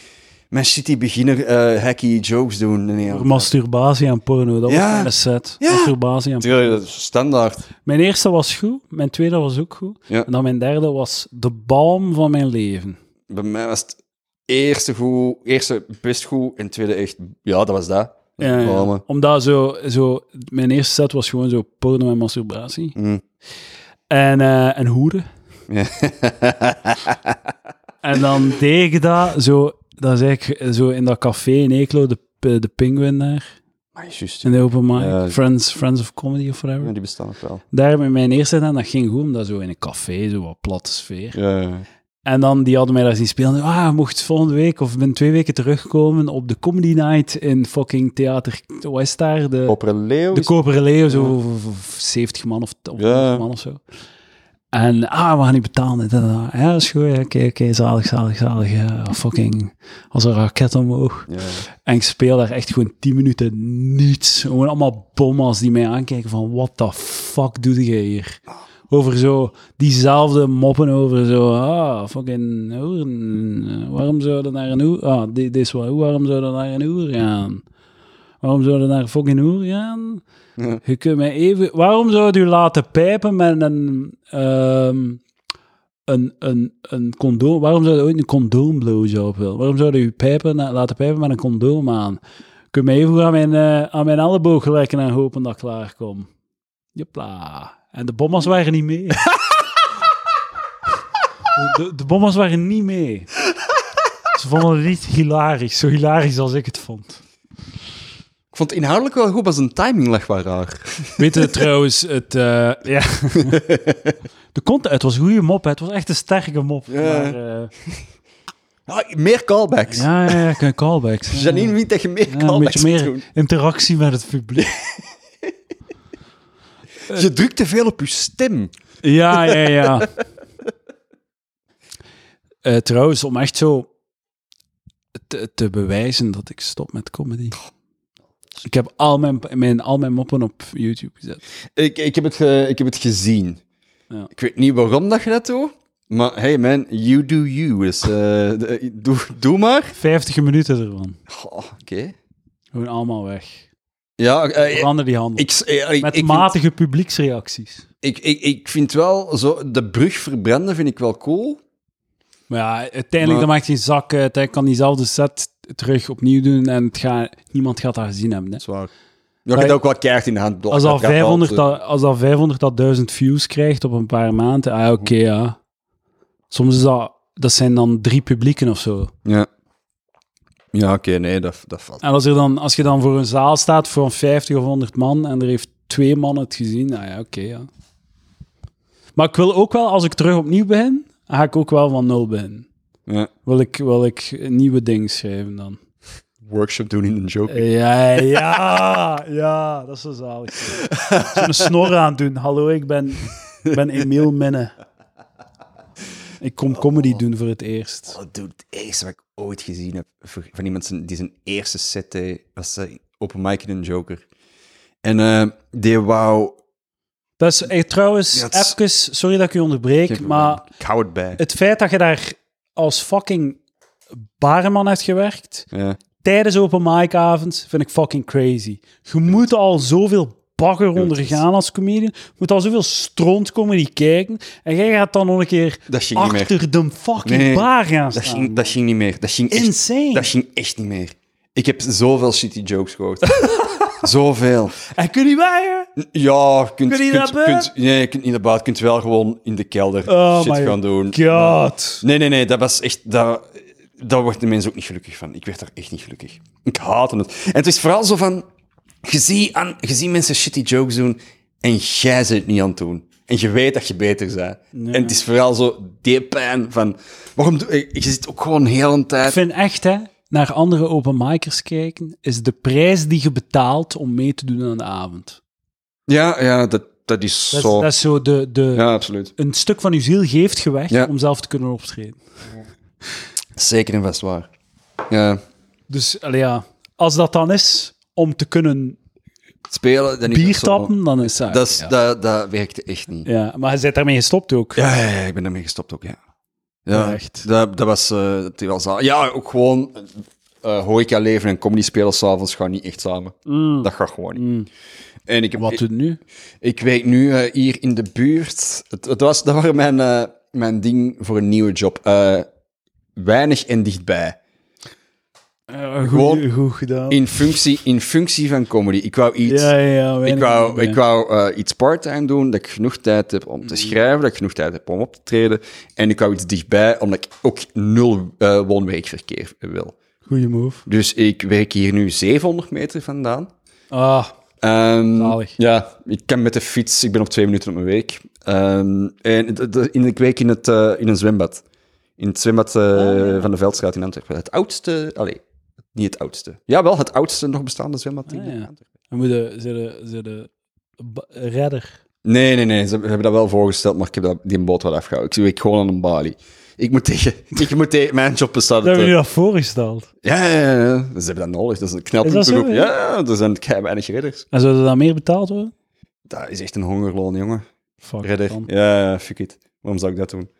mijn shitty beginner eh, hacky jokes doen. En ja.
Voor Masturbatie en porno, dat
Ja.
was mijn set.
Ja.
Masturbatie en
Tuurlijk, dat is standaard.
Mijn eerste was goed, mijn tweede was ook goed.
Ja.
En dan mijn derde was de balm van mijn leven.
Bij mij was het eerste goed, eerste best goed en tweede echt, ja, dat was dat.
Ja, ja.
Oh, man.
Omdat zo, zo, mijn eerste set was gewoon zo porno en masturbatie.
Mm.
En, eh en hoeren.
Ja.
En dan deed ik dat zo, dat is eigenlijk eh, zo in dat café in Eeklo, de, eh, de Penguin daar,
Maar juist,
in de open mic,
Ja.
Friends, Friends of Comedy of whatever.
ja, die bestaan ook wel.
Daar met mijn eerste dan, dat ging goed, omdat zo in een café, zo wat platte sfeer.
Ja, ja.
En dan, die hadden mij daar zien spelen. Ah, je mocht volgende week of binnen twee weken terugkomen op de Comedy Night in fucking theater, wat is daar? De,
Opera Leo
de
is-
Koperen Leeuw, zo voor- voor 70 man of, of
Ja.
100 man of zo. En, ah, we gaan niet betalen. dit en dat. Ja, dat is goed. ja, Oké, oké, zalig, zalig, zalig. ja, fucking, als een raket omhoog.
Ja.
En ik speel daar echt gewoon 10 minuten niets. Gewoon allemaal bommas die mij aankijken van, what the fuck doe je hier? Over zo, diezelfde moppen over zo, ah, fucking hoeren. Waarom zouden naar een hoer, ah, dit dit is wel, waarom zouden naar een hoer gaan? Waarom zouden naar fucking hoer gaan?
Ja.
Je kunt mij even, waarom zou je laten pijpen met een, ehm, een, een, een condoom. Waarom zou je ooit een condoom blowjob willen? Waarom zou je je pijpen, na- laten pijpen met een condoom aan? Kun je me even goed aan mijn, eh, aan mijn elleboog gelijken en hopen dat ik klaarkom? Jepla. En de bommas waren niet mee. De, de bommas waren niet mee. Ze vonden het niet hilarisch. Zo hilarisch als ik het vond.
Ik vond het inhoudelijk wel goed, maar zijn timing lag wel raar.
Weet je trouwens, het... eh, ja. de content, het was een goede mop. hè. Het was echt een sterke mop.
Ja.
Maar, eh,
Ah, meer callbacks.
Ja, ja, ja, ik- callbacks. Ja.
Janine, wie dat je meer
Ja, een
callbacks
beetje
moet
meer
doen.
interactie met het publiek.
Je drukt te veel op je stem.
Ja, ja, ja. Eh, trouwens, om echt zo te, te bewijzen dat ik stop met comedy. Ik heb al mijn, mijn, al mijn moppen op YouTube gezet.
Ik, ik, heb, het ge- ik heb het gezien.
Ja.
Ik weet niet waarom dat je dat doet, maar hey man, you do you. Dus eh, de- doe, doe maar.
50 minuten ervan.
Goh, Oké.
Gewoon allemaal weg.
Ja, eh,
Verander die handel.
ik, eh, ik,
Met
ik, vind,
matige publieksreacties.
ik, ik, ik vind wel, zo, de brug verbranden vind ik wel cool.
Maar ja, uiteindelijk
Maar-
dat maakt geen zak uit. hè. Ik kan diezelfde set terug opnieuw doen en het gaat, niemand gaat dat gezien hebben. hè.
Zwaar. Ja, je hebt ook wat keihard in de hand.
Als
dat
dat,
gaat wel,
500,
zo.
dat, als dat 500 dat 1000 views krijgt op een paar maanden, ah, oké, ja. Soms is dat, dat zijn dan drie publieken of zo.
Ja, ja oké, nee, dat, dat valt.
En als, er dan, als je dan voor een zaal staat voor een 50 of 100 man en er heeft twee man het gezien, ah ja, oké, ja. Maar ik wil ook wel, als ik terug opnieuw begin, ga ik ook wel van nul beginnen.
Ja.
Wil ik, wil ik nieuwe dingen schrijven dan.
Workshop doen in een joke.
Ja, ja, ja, dat is zo zalig. Zo'n snor aan doen. Hallo, ik ben, ik ben Emiel Minne. Ik kom comedy doen voor het eerst.
Oh, dude, het eerste wat ik ooit gezien heb voor- van iemand zijn- die zijn eerste set deed, was eh, open mic in een Joker. En eh, die wou...
Dat is eh, trouwens,
Ja, het is-
even, sorry dat ik u onderbreek, maar
Ik hou het bij.
het feit dat je daar als fucking barman hebt gewerkt,
Ja.
tijdens open mic avond, vind ik fucking crazy. Je moet al zoveel bagger ondergaan als comedian, je moet al zoveel strontcomedy kijken, en jij gaat dan nog een keer
Dat ging niet meer.
achter de fucking
Nee,
bar gaan
Dat
staan.
ging, dat ging niet meer. Dat ging, echt,
Insane.
dat ging echt niet meer. Ik heb zoveel shitty jokes gehoord. zoveel.
En kun je weigen?
Ja, je kunt,
Kun je
kunt,
dat
kunt, nee, je kunt niet naar buiten. Je kunt wel gewoon in de kelder
Oh
shit
my
gaan doen.
God.
Nee, nee, nee, dat was echt. Dat, daar werd de mensen ook niet gelukkig van. Ik werd daar echt niet gelukkig. Ik haatte het. En het is vooral zo van. Je ziet, aan, je ziet mensen shitty jokes doen en jij ze het niet aan het doen. En je weet dat je beter bent. En het is vooral zo die pijn van... Waarom doe, eh, je zit ook gewoon heel een tijd...
Ik vind echt, hè, naar andere open micers kijken, is de prijs die je betaalt om mee te doen aan de avond.
Ja, ja, dat, dat is
Dat, is-
zo...
dat is zo de... de
Ja, absoluut.
Een stuk van je ziel geeft je weg
Ja.
om zelf te kunnen optreden.
Zeker en vast waar. Ja.
Dus allee, ja, als dat dan is om te kunnen
Spelen, dan is
bier
dat zo-
tappen, dan is dat...
Dat, is,
ja.
dat, dat werkte echt niet.
Ja, maar je bent daarmee gestopt ook.
Ja, ja, ja, ik ben daarmee gestopt ook, ja. Ja,
Ja, echt.
Dat, dat was eh, die wel zaal. Ja, ook gewoon eh horeca leven en comedy spelen s'avonds gaan niet echt samen. Dat gaat gewoon niet. En ik, heb,
Mm. Wat
ik,
doet nu?
ik weet nu eh, hier in de buurt... Het, het was, dat was mijn, eh, mijn ding voor een nieuwe job. Eh, weinig en dichtbij.
goed, goed gedaan.
In functie, in functie van comedy. Ik wou iets...
ja, ja, ja, Mhm.
Ik
weinig
wou,
dingen.
ik wou eh, iets part-time doen, dat ik genoeg tijd heb om te schrijven, dat ik genoeg tijd heb om op te treden. En ik wou iets dichtbij, omdat ik ook nul eh woonweekverkeer wil.
Goeie move.
Dus ik werk hier nu 700 meter vandaan.
Ah,
Ehm,
Zalig.
Ja, ik kan met de fiets, ik ben op twee minuten op mijn week. Ehm, en d- d- in, ik week in, het, eh, in een zwembad. In het zwembad eh,
Ah,
van de Veldstraat in Antwerpen. Het oudste, allee, niet het oudste. Ja, wel het oudste nog bestaande zwembad in
Ah, ja.
Antwerpen.
we moeten... Ze de, ze de ba- redder.
Nee, nee, nee. Ze hebben dat wel voorgesteld, maar ik heb dat, die boot wel afgehouden. Ik zie ik gewoon aan een balie. Ik moet tegen, ik moet tegen mijn job bestaan.
Dat hebben jullie eh, dat voorgesteld.
Ja, ja, ja, ja. Ze hebben dat nodig. Dat is een knelpunt.
Is dat zo,
erop. Ja, ja, er zijn kei weinig redders.
En zouden dan meer betaald worden?
Dat is echt een hongerloon, jongen.
Fuck,
Redder.
dan.
Ja, ja, fuck it. Waarom zou ik dat doen?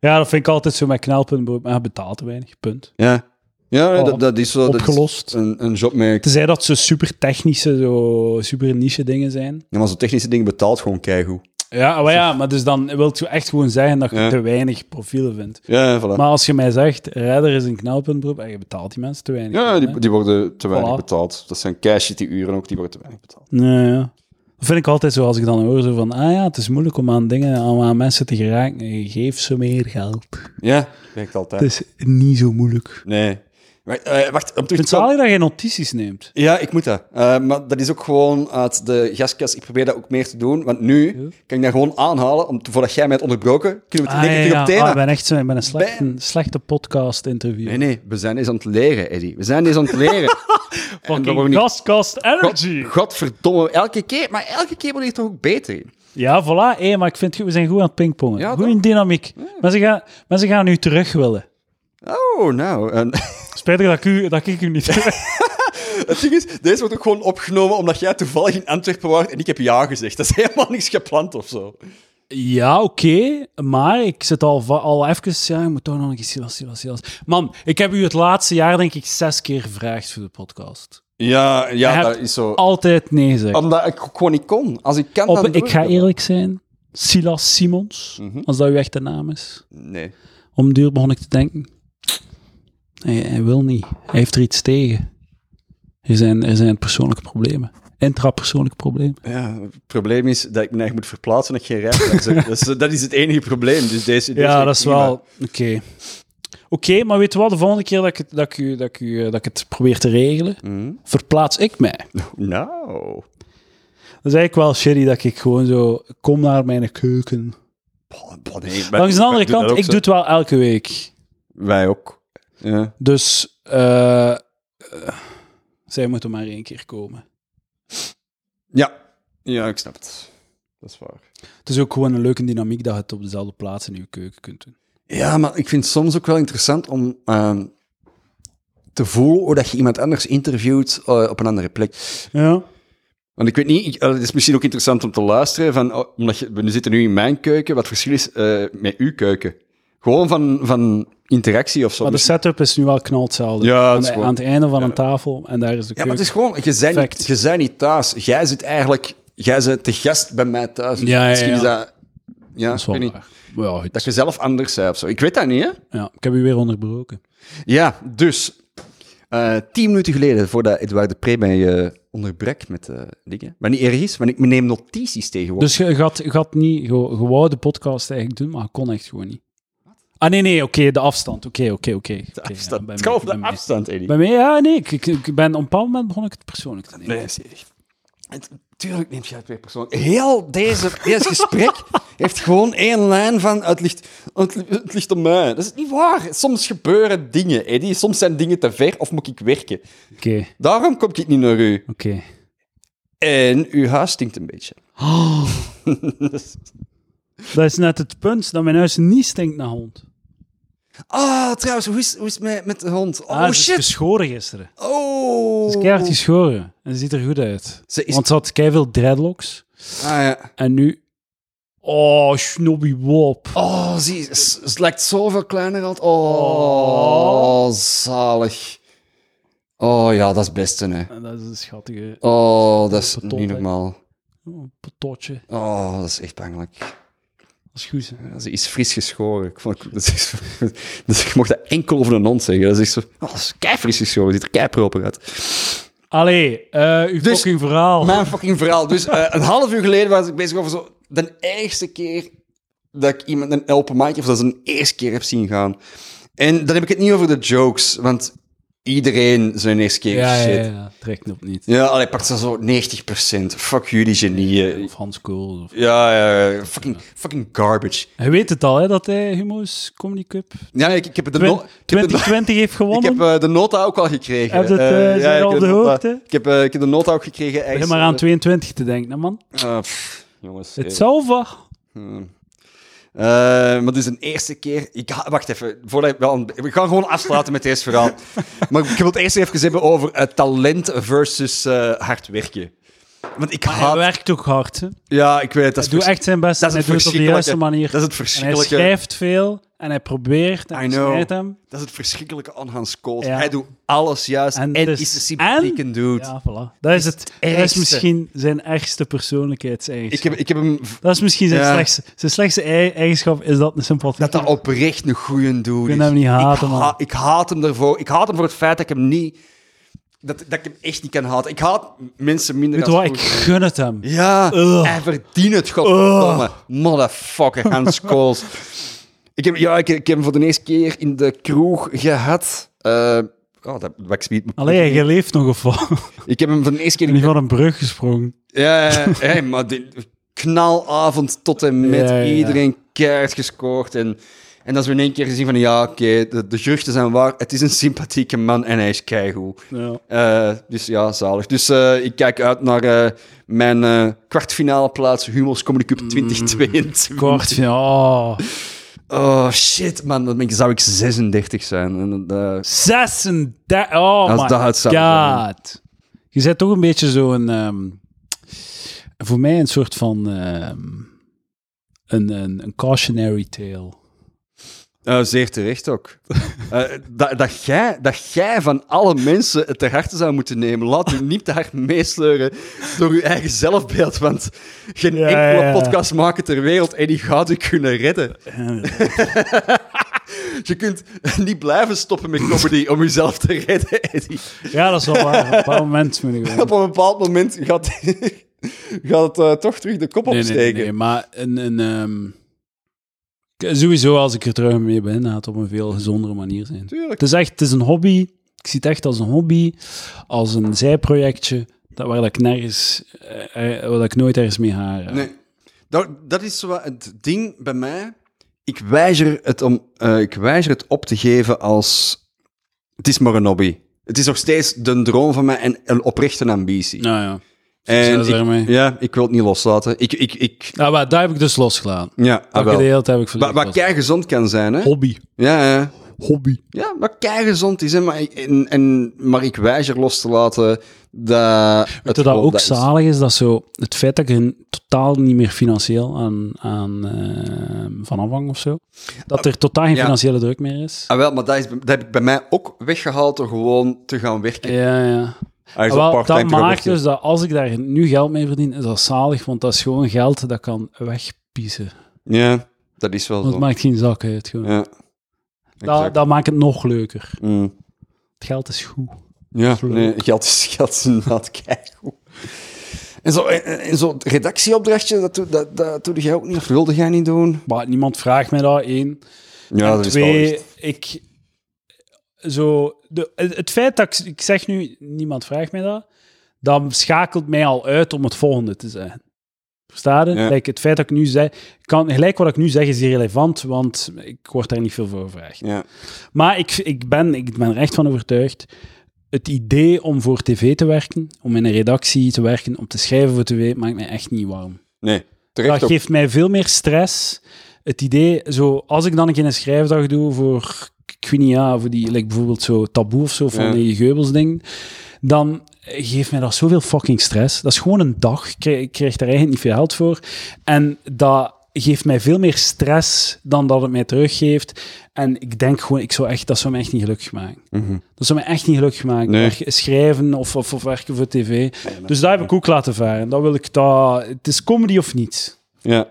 Ja, dat vind ik altijd zo met knelpunt. Maar je betaalt te weinig, punt.
Ja. Ja,
Oh,
dat, dat is zo. dat is
opgelost.
een, een job met...
Tenzij dat ze super technische, zo super niche dingen zijn.
Ja, maar zo'n technische dingen betaalt gewoon keigoed.
Ja, maar ja, maar dus dan wil je echt gewoon zeggen dat je
Ja.
te weinig profielen vindt.
Ja, voilà.
Maar als je mij zegt, redder is een knelpuntberoep en je betaalt die mensen te weinig.
Ja, die, die worden te weinig
Voilà.
betaald. Dat zijn cash die uren ook, die worden te weinig betaald.
Ja, ja. Dat vind ik altijd zo, als ik dan hoor zo van, ah ja, het is moeilijk om aan dingen, aan, aan mensen te geraken. Eh, Geef ze meer geld.
Ja, werkt altijd.
Het is niet zo moeilijk. Ik
Nee. Wacht, eh, wacht om terug
vind het
te komen.
zalig dat je notities neemt.
Ja, ik moet dat. Eh, maar dat is ook gewoon uit de gastkast. Ik probeer dat ook meer te doen. Want nu kan ik dat gewoon aanhalen. Om, voordat jij mij hebt onderbroken, kunnen we
Ah,
het in één keer
ja,
terug op
ja. Ah,
thema.
ik ben echt zo, ik ben een slechte,
Ben-
slechte podcast-interview.
Nee, nee. We zijn eens aan het leren, Eddie. We zijn eens aan het leren. En we
Fucking
worden niet-
gastkast energy.
God, godverdomme. Elke keer. Maar elke keer word je toch ook beter in.
Ja, voilà. Hé, maar ik vind goed, we zijn goed aan het pingpongen.
Ja,
Goeie dynamiek. Mensen, gaan, mensen gaan u terug willen.
Oh, nou. En,
Spijtig dat ik u, dat ik u niet terug...
het ding is, deze wordt ook gewoon opgenomen omdat jij toevallig in Antwerpen was en ik heb ja gezegd. Dat is helemaal niks gepland of zo.
Ja, oké. maar ik zit al, va- al even... Ja, ik moet toch nog een keer Silas, Silas, Silas. Man, ik heb u het laatste jaar denk ik zes keer gevraagd voor de podcast.
Ja,
Je
ja Ah, dat
hebt
is zo.
Altijd nee gezegd.
Omdat ik ook gewoon niet kon. Als ik kan,
Op,
dan doe
ik ga
dat. Mhm.
eerlijk zijn. Silas Simons, als dat uw echte naam is.
Nee.
Om duur begon ik te denken. Hij, hij wil niet. Hij heeft er iets tegen. Er zijn, er zijn persoonlijke problemen. Intrapersoonlijke problemen.
Ja, het probleem is dat ik me eigenlijk moet verplaatsen en ik geen rijbewijs heb. dat, is, dat is het enige probleem. Dus deze, deze
Ja, dat is
prima.
wel. Oké. Oké, maar weet je wat? De volgende keer dat ik, het- dat ik, u- dat ik, u- eh, dat ik het probeer te regelen,
Mhm.
verplaats ik mij.
Nou.
Dat is eigenlijk wel shitty dat ik gewoon zo kom naar mijn keuken.
Boah, boah, nee, wij-
Langs de andere
wij doen
kant,
dat ook
ik
zo.
doe het wel elke week.
Wij ook. Ja.
Dus eh, eh, zij moeten maar één keer komen.
ja. Ja, ik snap het. Dat is waar.
Het is ook gewoon een leuke dynamiek dat je het op dezelfde plaats in je keuken kunt doen.
Ja, maar ik vind het soms ook wel interessant om ehm, te voelen hoe dat je iemand anders interviewt eh, op een andere plek.
Ja.
Want ik weet niet, ik- eh, het is misschien ook interessant om te luisteren, van, oh, omdat je, we zitten nu in mijn keuken, wat het verschil is eh, met uw keuken. Gewoon van, van interactie of zo. Dus
Maar de setup is nu wel knal hetzelfde.
Ja, het
aan,
is
de-
gewoon-
aan het einde van een tafel en daar is de
Ja, maar
keuken.
het is gewoon, je bent,
Fact.
niet, je bent niet thuis. Jij zit eigenlijk, jij bent te gast bij mij thuis.
Ja, ja,
Misschien is
ja.
dat, ja,
Dat is
ik
wel
weet niet.
waar. Maar ja, goed.
Dat je zelf anders bent of zo. Ik weet dat niet, hè?
ja, ik heb u weer onderbroken.
Ja, dus, eh, tien minuten geleden, voordat Edouard de Pre mij eh, onderbrak met eh, dingen, maar niet erg is, want ik neem notities tegenwoordig.
Dus je je had, je had niet, je, je wou de podcast eigenlijk doen, maar je kon echt gewoon niet. Ah, nee, nee, oké, de afstand. Oké, oké, oké. Oké,
de
Dus- ja,
afstand.
bij
het
mij,
gaat over
bij
de
mij.
afstand, Eddie.
Bij mij, ja, nee. Ik, ik, ik ben, op een bepaald moment begon ik het persoonlijk te nemen.
Nee, dat is echt- Het- Tuurlijk neemt je het weer persoonlijk. Heel deze, deze gesprek heeft gewoon één lijn van... Het ligt, het, li- het ligt om mij. Dat is niet waar. Soms gebeuren dingen, Eddie. Soms zijn dingen te ver of moet ik werken.
Oké,
Daarom kom ik niet naar u.
oké.
En uw huis stinkt een beetje.
Dat is net het punt, dat mijn huis niet stinkt naar hond.
Ah, trouwens, hoe is, hoe is het met, met de hond? Oh,
Ah, ze is
shit.
geschoren gisteren.
Oh.
Ze is keihard geschoren. En ze ziet er goed uit.
Ze is...
Want ze had keiveel dreadlocks.
Ah, ja.
En nu... Oh, snobby wop.
Oh, zie, ze, ze lijkt zoveel kleiner al. Oh, zalig. Oh ja, dat is het beste, hè.
En dat is een schattige
Oh, dat is
Vertot,
niet
hè.
normaal.
oh, patotje.
Oh, dat is echt bangelijk.
Dat is goed, hè.
Ja, Ze is fris geschoren. Ik, vond, dat is, dus ik mocht dat enkel over een hond zeggen. Dat is echt zo... Oh, ze is keifris geschoren. Ziet er keiproper uit.
Allee, eh uw
Dus-
fucking verhaal.
Mijn fucking verhaal. Dus eh, een half uur geleden was ik bezig over zo... De eerste keer dat ik iemand een open mic... Of dat is een eerste keer heb zien gaan. En dan heb ik het niet over de jokes. Want iedereen zijn eerste keer
ja, ja,
shit.
ja,
Ja,
ja, trek nog niet.
allee, pak ze zo 90%. Fuck jullie genieën.
Of Hans Kool. Of...
Ja, ja, ja. Fucking, fucking garbage.
Je weet het al, hè, dat hij Humo's Comedy Cup
Ja, ik, ik heb de... no- ik heb de-
2020 heeft
Ik
gewonnen.
heb eh, de nota ook al gekregen.
Heb je het, eh,
Eh,
zijn
ik
al
heb
de
nota-
hoogte?
Ik heb, eh, ik heb de nota ook gekregen.
Begin
eigenlijk.
maar aan 22 te denken, hè, man.
Ah, pff, jongens. eh.
Het salva.
Eh, maar dit is een eerste keer... Ik ga- wacht even. Voordat ik wel een- we gaan gewoon afsluiten met deze verhaal. maar ik wil het eerst even hebben over eh, talent versus eh, hard werken. Want ik
Hij
haat...
werkt ook hard, hè.
Ja, ik weet het. Dat
Ah, Hij
is
doet
vers-
echt zijn best
dat
en
is
hij
het
doet het op de juiste
verschrikkelijke-
manier.
Dat is het
En hij
verschrikkelijke...
schrijft veel en hij probeert en
I
hij
know.
snijdt hem.
Dat is het verschrikkelijke aan Hans Kools.
Ja.
Hij doet alles juist
En
en,
het is-
is een sympathieke dude.
Ja, voilà. Dat is, het, dat is
ergste.
misschien zijn ergste persoonlijkheidseigenschappen.
Ik, heb, ik heb hem
Dat is misschien zijn
Ja.
slechtste. Zijn slechtste ei- eigenschap is dat een sympathie.
Dat dat oprecht een goeie dude
Ik
is.
kan hem niet haten,
ik,
man.
ik haat hem daarvoor. Ik haat hem voor het feit dat ik hem niet... Dat, dat ik hem echt niet kan haten. Ik haat mensen minder
Weet je
als
wat, ik
goed.
gun het hem.
Ja,
Ugh.
hij verdient het, godverdomme. Motherfucker, Hans Kools. ik, heb, ja, ik, ik heb hem voor de eerste keer in de kroeg gehad. Eh, oh, dat, wat ik spiet.
Allee, je leeft nog of wat?
Ik heb hem voor de eerste keer...
En
in
die
de-
van een brug gesprongen.
Ja, ja, ja. hey, maar die knalavond tot en met
Ja, ja, ja.
iedereen keihard gescoord. En, en dat is we in één keer gezien van, ja, oké, de, de geruchten zijn waar. Het is een sympathieke man en hij is keigoed.
Ja.
Eh, dus ja, zalig. Dus eh, ik kijk uit naar eh, mijn eh, kwartfinale plaats Humo's Comedy
Mm.
Cup 2022.
Kort, ja.
Oh, shit, man. Dan ben ik- zou ik 36 zijn. En, eh,
36. Oh,
Als
my
dat het zou
god. Je bent toch een beetje zo'n. ehm, voor mij een soort van. ehm, een, een, een cautionary tale.
Eh, zeer terecht ook. Eh, dat, dat, jij, dat jij van alle mensen het ter harte zou moeten nemen. Laat u niet te hard meesleuren door uw eigen zelfbeeld. Want geen
Ja,
enkele
ja, ja.
podcast maken ter wereld en die gaat u kunnen redden. Je kunt niet blijven stoppen met comedy om uzelf te redden, Eddie.
Ja, dat is wel waar. Op een bepaald moment moet ik wel.
Op een bepaald moment gaat, gaat het eh, toch terug de kop
Nee, nee,
opsteken.
nee, nee, maar een. een ehm, k- sowieso, als ik er terug mee ben, gaat het op een veel gezondere manier zijn.
Tuurlijk.
Het is echt het is een hobby. Ik zie het echt als een hobby, als een zijprojectje. Dat waar dat ik nergens, eh, eh, waar dat ik nooit ergens mee ga. raken.
Nee. Dat, dat is zo wat het ding bij mij. Ik weiger het, om, eh, ik weiger het op te geven als... Het is maar een hobby. Het is nog steeds de droom van mij en een oprechte ambitie.
Nou ja.
en
succes
ik,
daarmee.
ja, ik wil het niet loslaten. Ik, ik, ik,
Nou, maar daar heb ik dus losgelaten.
ja, ah,
Dat
wel.
gedeelte heb ik volledig
Wat, wat
losgelaten.
kei gezond kan zijn, hè?
Hobby.
Ja, ja.
Hobby.
ja wat kei gezond is, hè? Maar, ik- en, en, maar ik weiger los te laten dat...
Terwijl
Het
dat
gewoon
ook
dat is.
zalig is, dat zo het feit dat ik er totaal niet meer financieel aan, aan eh, van afhang of zo. Dat er totaal geen
Ah, ja.
financiële druk meer is.
Ah, wel, maar dat, is, dat heb ik bij mij ook weggehaald door gewoon te gaan werken.
Ja, ja.
Hij is
Ah, wel,
op parttime
dat
te gaan
maakt
werken.
dus dat als ik daar nu geld mee verdien, is dat zalig, want dat is gewoon geld dat kan wegpiezen.
Ja, dat is wel
Dat
zo.
maakt geen zak uit. Gewoon.
Ja.
dat,
Exact.
dat maakt het nog leuker.
Mm.
Het geld is goed.
Ja,
Vloek.
nee, dus- geld is, geld is inderdaad keigoed. En zo'n en, en zo'n redactieopdrachtje, dat, doe- dat, dat doe jij ook niet, of wilde jij niet doen?
Maar niemand vraagt mij dat, één.
Ja,
En twee, ik... Zo, de, het het feit dat ik, ik zeg nu, niemand vraagt mij dat, dat schakelt mij al uit om het volgende te zeggen. Versta je?
Ja.
Like, het feit dat ik nu zeg... Kan, gelijk wat ik nu zeg is irrelevant, want ik word daar niet veel voor gevraagd.
Ja.
Maar ik, ik, ben, ik ben er echt van overtuigd. Het idee om voor tv te werken, om in een redactie te werken, om te schrijven voor tv, maakt mij echt niet warm.
Nee, terecht
Dat
ook.
geeft mij veel meer stress. Het idee, zo, als ik dan een keer een schrijfdag doe voor, ik weet niet, ja, voor die, like bijvoorbeeld zo taboe of zo, van
Ja.
die Geubels ding, dan geeft mij dat zoveel fucking stress. Dat is gewoon een dag. Ik krijg, ik krijg daar eigenlijk niet veel geld voor. En dat geeft mij veel meer stress dan dat het mij teruggeeft. En ik denk gewoon, ik zou echt, dat zou mij echt niet gelukkig maken. Dat zou mij echt niet gelukkig maken.
Mhm. Nee.
Werk- Schrijven of, of, of werken voor tv. Dus daar heb ik ook laten varen. Dat wil ik dat... Het is comedy of niet.
Ja.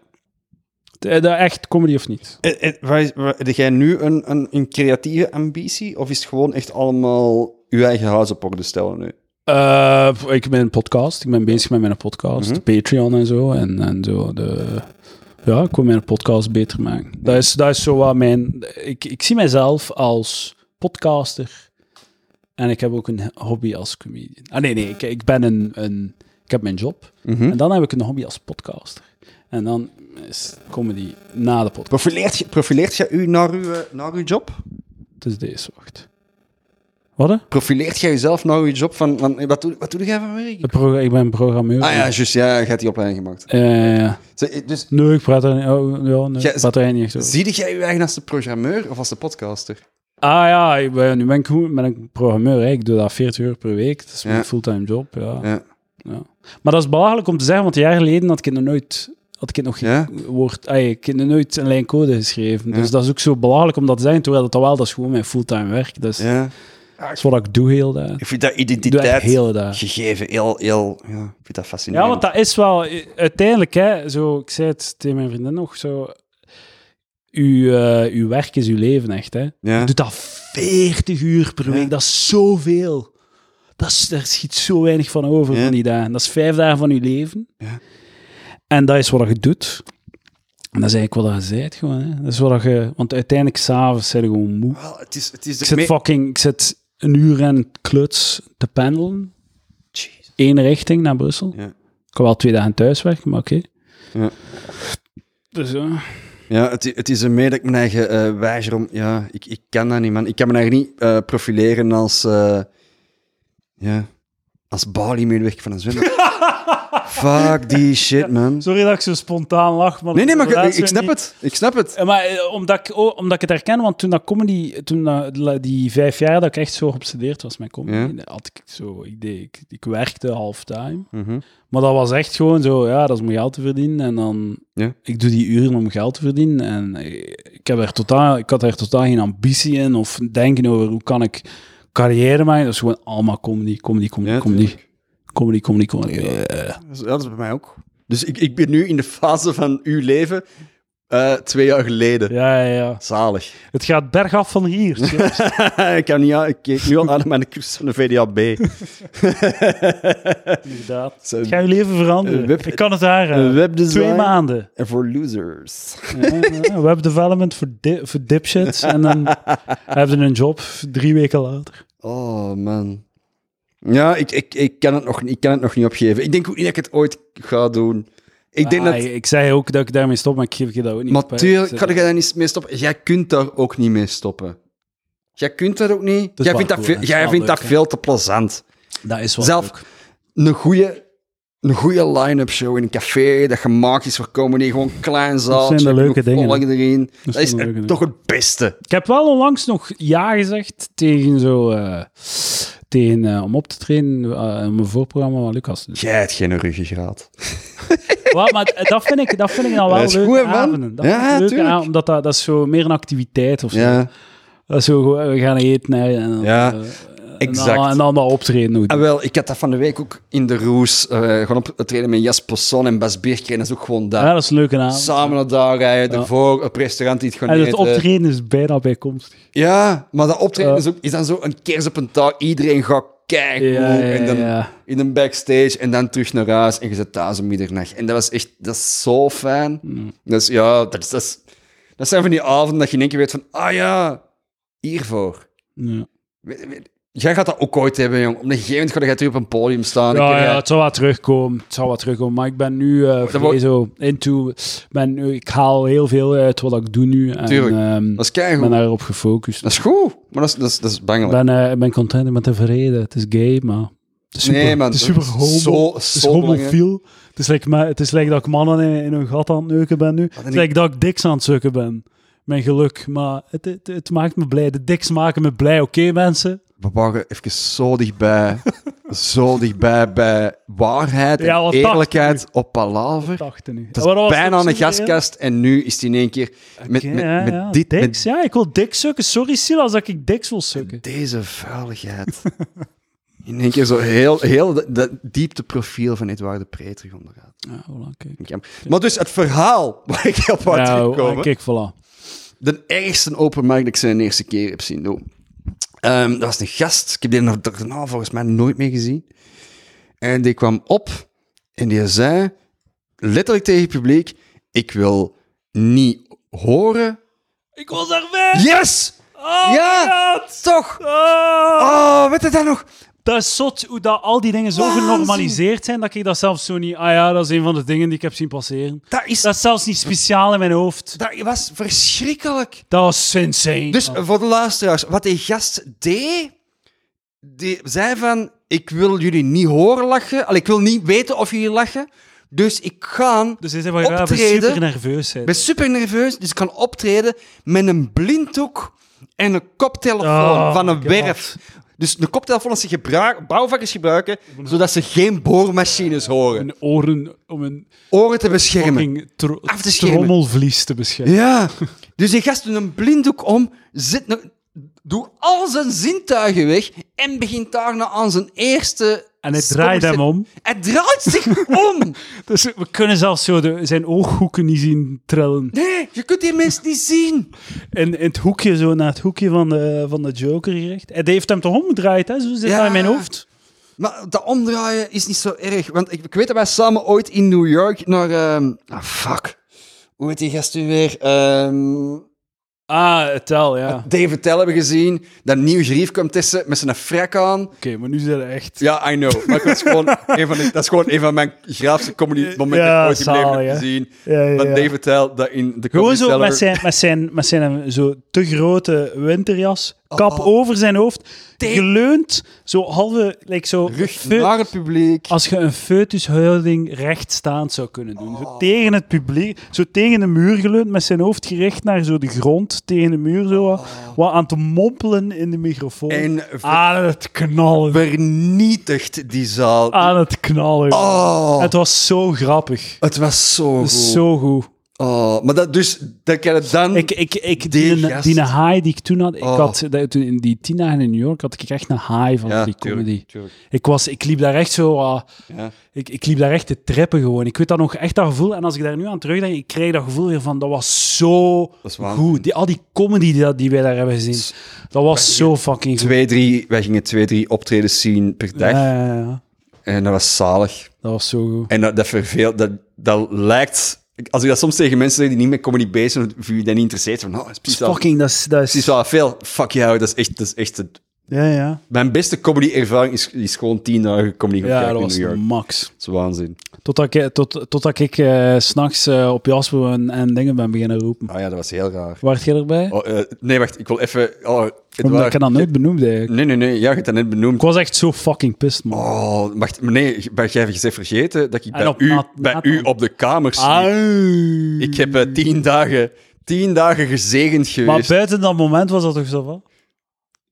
Eh, dat Echt comedy of niet.
En- en Eh, waar is- waar- Heb jij nu een, een, een creatieve ambitie? Of is het gewoon echt allemaal je eigen huis op orde stellen nu?
Eh, ik ben een podcast. Ik ben bezig met mijn podcast. Patreon en zo. En, en zo. De, ja, ik wil mijn podcast beter maken. Dat is, dat is zo wat mijn... Ik, ik zie mijzelf als podcaster. En ik heb ook een hobby als comedian. Ah, nee, nee. Ik, ik ben een... een ik heb mijn job. En dan heb ik een hobby als podcaster. En dan is comedy na de podcast.
Profileert, je- profileert jij u naar uw, eh, naar uw job?
Dus deze, wacht. Wat? hè?
Profileert jij jezelf naar uw job? Van, van, eh, wat, doe, wat doe jij van werk?
De pro- ik ben programmeur.
Ah ja, juist. Ja, je hebt die opleiding gemaakt.
Eh,
Zeg, eh, Dus
nee, ik praat er niet, oh, ja, nee,
Ja,
ik praat er eigenlijk niet echt over.
zie jij je eigen als de programmeur of als de podcaster?
Ah ja, ik ben, nu ben ik goed met een programmeur. Hè. Ik doe dat 40 uur per week. Dat is mijn
Ja.
fulltime job. Ja.
Ja.
Ja. Maar dat is belachelijk om te zeggen, want een jaar geleden had ik nog nooit... Had ik nog geen
Ja?
woord, ay, ik heb nog nooit een lijn code geschreven. Dus dat is ook zo belachelijk om dat te zeggen. Terwijl dat al wel, dat is gewoon mijn fulltime werk. Dat is,
Ja.
dat is wat ik doe heel de,
Ik vind dat
ik doe echt
identiteit
heel de,
gegeven heel, heel... Ja, ik vind dat
Ja,
fascinerend.
want dat is wel eh, uiteindelijk, hè, zo, ik zei het tegen mijn vriendin nog zo. Uw, eh, uw werk is uw leven echt. Hè.
Ja.
Je doet Dus dat 40 uur per week, dat is zoveel. Dat is, daar schiet zo weinig van over
Ja.
van die dagen. Dat is vijf dagen van uw leven.
Ja.
En dat is wat je doet. En dat is eigenlijk wat je zei gewoon. Hè. Dat is wat je, want uiteindelijk s'avonds zijn je gewoon moe.
Wel, het is, het is de
Ik zit
me-
fucking, ik zit een uur en kluts te pendelen.
Jeez.
Eén richting naar Brussel.
Ja.
Ik kan wel twee dagen thuis werken, maar oké.
Ja.
Dus ja.
Ja, het, i- het is een mee dat ik mijn eigen eh wijzer om... Ja, ik, ik kan dat niet, man. Ik kan me eigenlijk niet eh, profileren als... eh, ja, als Bali-medewerker van een zwembad. Fuck die shit, man.
Sorry dat ik zo spontaan lach, maar...
Nee, nee, maar
dat
ik,
laatste
ik snap
niet.
het. Ik snap het.
Eh, Maar eh, omdat ik, oh, omdat ik het herken, want toen dat comedy, toen dat, la- die vijf jaar dat ik echt zo geobsedeerd was met comedy, had ik zo, ik, deed, ik, ik werkte halftime.
Mhm.
Maar dat was echt gewoon zo, ja, dat is om geld te verdienen. En dan,
Ja.
ik doe die uren om geld te verdienen. En eh, ik, heb er totaal, ik had er totaal geen ambitie in of denken over hoe kan ik carrière maken. Dat is gewoon allemaal comedy, comedy, comedy,
Ja,
comedy. Comedy, comedy, comedy. Eh,
Dat is- dat is bij mij ook. Dus ik, ik ben nu in de fase van uw leven eh, twee jaar geleden.
Ja, ja, ja.
Zalig.
Het gaat bergaf van hier. jongens.
ik, kan niet, aan- ik keek nu al aan naar mijn cursus van de VDAB.
Inderdaad.
Zo,
Het gaat je leven veranderen.
Eh, web-
ik kan het aanraden.
eh, webdesign.
Twee maanden.
En voor losers.
Ja, ja, web development voor, di voor dipshits. en dan hebben ze een job drie weken later.
Oh, man. Ja, ik, ik, ik, kan het nog, ik kan het nog niet opgeven. Ik denk ook niet dat ik het ooit ga doen. Ik denk
Ah,
dat...
ik- Ik zei ook dat ik daarmee stop, maar ik geef je dat ook niet.
Maar
op, hè.
tuurlijk
Dus,
kan jij daar niet mee stoppen. Jij kunt daar ook niet mee stoppen. Jij kunt dat ook niet.
is
Jij vindt dat,
parcours,
veel,
hè.
jij
Het is wel
vindt dat
leuk, hè.
veel te plezant.
Dat is wel
Zelf-
leuk.
een goede een goede line-up show in een café dat gemaakt is voor comedy, gewoon klein zaal.
zijn de leuke dingen.
Erin. Dat,
zijn
is
de leuke
eh,
dingen.
toch het beste.
Ik heb wel onlangs nog ja gezegd tegen zo... eh, tegen, eh, om op te trainen, eh, om een voorprogramma van Lucas. te doen.
Jij hebt geen ruggengraat.
Wel, maar d- dat vind ik, dat vind ik dan wel
Dat is
leuke
goed, hè, man?
avonden. Dat
Ja,
vind ik leuke
tuurlijk.
avonden, omdat dat, dat is zo meer een activiteit of zo.
Ja.
Dat is zo, gewoon, eh, we gaan eten hè, en, dan,
Ja,
eh, En
exact.
dan, en dan dat optreden ook.
Ah, wel, ik had dat van de week ook in de roes. eh, gewoon op het trainen met Jas Posson en Bas Bierke. Dat is ook gewoon dat.
ja, dat is een leuke avond.
Samen naar daar rijden, ervoor op restaurant iets gaan
en het
eten.
optreden is bijna bijkomstig.
Ja, maar dat optreden
Ja.
is, ook, is dan zo een kers op een taal. Iedereen gaat kijken.
Ja, ja,
en dan
ja.
in een backstage en dan terug naar huis. En je zit thuis om middernacht. En dat was echt dat is zo fijn.
Mm.
Dus ja, dat, is, dat, is, dat zijn van die avonden dat je in één keer weet van... Ah ja, hiervoor.
Ja.
We- we- Jij gaat dat ook ooit hebben, jong. Op een gegeven moment ga je terug op een podium staan. Ik-
Ja,
eh,
ja, het zal wel terugkomen. Het zal wel terugkomen. Maar ik ben nu eh vrij
wordt-
zo into. Ben, nu- ik haal heel veel uit wat ik doe nu. En,
Tuurlijk.
ehm,
Dat is
ik ben
keigoed.
daarop gefocust.
Dat is goed, maar dat is, dat is, dat is
Ik
bangelijk.
ben, eh, ik ben content met tevreden. Het is gay, maar... Het is super,
Nee, man,
Het is
dat
super
is
homo.
zo-
het is
zo
homofiel. Het is like me- Het is like dat ik mannen in, in hun gat aan het neuken ben nu. Het is
ik-
like dat ik diks aan het zukken ben. Mijn geluk. Maar het, het, het maakt me blij. De diks maken me blij. Oké, mensen?
We waren even zo dichtbij, zo dichtbij bij waarheid en
Ja, wat
eerlijkheid op palaver.
Dachten nu.
Dat
Wat
is
was
bijna
het
aan de
precies weer?
gastkast en nu is het in één keer met,
Oké,
met,
ja,
met
ja.
dit,
Diks, ja. Ik wil diks zukken. Sorry, Silas, dat ik diks wil zukken.
met deze vuiligheid. in één keer zo heel, heel dat, dat diepte profiel van Edouard de Pre terug onderuit.
Ja, voilà, kijk.
Ik heb- Maar dus het verhaal waar ik op wou
Nou,
terugkomen.
ah, kijk, voilà.
de ergste open mic dat ik zijn eerste keer heb zien doen. Ehm, dat was een gast. Ik heb die nog daarna volgens mij nooit meer gezien. En die kwam op en die zei letterlijk tegen het publiek: Ik wil niet horen.
Ik was daar weg!
Yes!
Oh
Ja!
my god!
Toch!
Oh!
Oh, weet je dat nog?
Dat is zot hoe dat al die dingen zo
Waanzin.
genormaliseerd zijn dat ik dat zelfs zo niet. Ah ja, dat is een van de dingen die ik heb zien passeren.
Dat, is,
Dat is zelfs niet speciaal in mijn hoofd.
dat was verschrikkelijk.
Dat was insane.
Dus eh, voor de luisteraars, wat die gast deed, die zei van, ik wil jullie niet horen lachen, Allee, ik wil niet weten of jullie lachen, dus ik ga,
dus is even ja, we
optreden-
super nerveus zijn.
ik ben super nerveus, dus ik kan optreden met een blinddoek en een koptelefoon
Oh,
van een
God.
werf. Dus de koptelefoon dat ze gebruik, bouwvakkers gebruiken, zodat ze geen boormachines horen.
Mijn oren om een
Oren te beschermen.
fucking tro-
Af te schermen.
trommelvlies te beschermen.
Ja. Dus die gast doet een blinddoek om, zit een- doet al zijn zintuigen weg en begint daarna aan zijn eerste...
En hij draait hem om.
Hij draait zich om.
Dus we kunnen zelfs zo de, zijn ooghoeken niet zien trillen.
Nee, je kunt die mensen niet zien.
In, in het hoekje, zo naar het hoekje van de, van de Joker gericht. En die heeft hem toch omgedraaid, hè? Zo zit
Ja.
dat in mijn hoofd.
Maar dat omdraaien is niet zo erg. Want ik, ik weet dat wij samen ooit in New York naar... ehm, ah, fuck. Hoe heet die gast nu weer? Ehm,
Ah, tel, ja. Oké,
David Tell hebben gezien. Dat nieuw gerief kwam tussen met zijn frak aan.
maar nu zijn we echt.
Ja, I know. Maar dat is gewoon een van, de- dat is gewoon een van mijn graafste comedy-momenten
Ja,
ooit in mijn leven
zalig,
heb
hè?
gezien.
Ja, ja,
Van
ja.
David Tell, dat in de
Gewoon
comedy
zo met
Cellar-
zijn, met zijn, met zijn eh, zo te grote winterjas, kap
oh.
over zijn hoofd,
Tegen-
geleund, zo halve, like zo
Rug
fe-
naar het publiek.
als je een foetushouding rechtstaand zou kunnen doen.
Oh.
Zo tegen het publiek, zo tegen de muur geleund, met zijn hoofd gericht naar zo de grond, tegen de muur zo, wat- wat aan te mompelen in de microfoon.
Oh. En ver-
Aan het knallen,
vernietigt die zaal.
aan het knallen.
Oh,
Het was zo grappig.
het was zo goed.
Zo goed.
Oh, maar dat dus, dat kan het dan...
Ik, ik, ik,
Die
die,
gast.
die high die ik toen had, ik
Oh.
had dat- toen in die tien dagen in New York had ik echt een high van
Ja,
die
tuurlijk,
comedy.
tuurlijk.
Ik, was, ik liep daar echt zo, ah,
Ja.
ik, ik liep daar echt te treppen gewoon. Ik weet dat nog echt dat gevoel. En als ik daar nu aan terugdenk, ik krijg dat gevoel weer van, dat was zo
is waanzin.
goed. Die, al die comedy die, dat- die wij daar hebben gezien, dat was zo fucking goed.
Twee, drie, wij gingen twee, drie optredens zien per dag.
Ja, ja, ja.
En dat was zalig.
dat was zo goed.
En dat, dat verveelt, dat, dat lijkt... Als ik dat soms tegen mensen zeg die niet met comedy bezig zijn, of je dat niet interesseert, van, oh, dat is precies wel-
Fucking, dat is... Dat is
Het is wel veel. Fuck jou, dat is echt. Dat is echt het-
ja, ja.
Mijn beste comedy-ervaring is, is gewoon tien dagen comedy gaan
ja,
kijken
dat
in
was
New York.
max.
Dat is waanzin.
Totdat ik, eh, tot, totdat ik eh, 's s'nachts op Jasper en, en dingen ben beginnen roepen.
Ah ja, dat was heel raar.
Waart jij erbij?
Oh, eh, nee, wacht, ik wil even. Oh, het
Omdat
waar-
ik dat nooit benoemd eigenlijk.
Nee, nee, nee, jij hebt dat net benoemd.
Ik was echt zo fucking pissed, man.
Oh, wacht, nee, jij hebt gezegd vergeten dat ik bij,
op
u,
nat-
bij
nat-
u op de kamer sliep.
Ah, Au.
Oh, Ik heb eh, tien, dagen, tien dagen gezegend
Hmm. Maar
geweest.
buiten dat moment was dat toch zo van?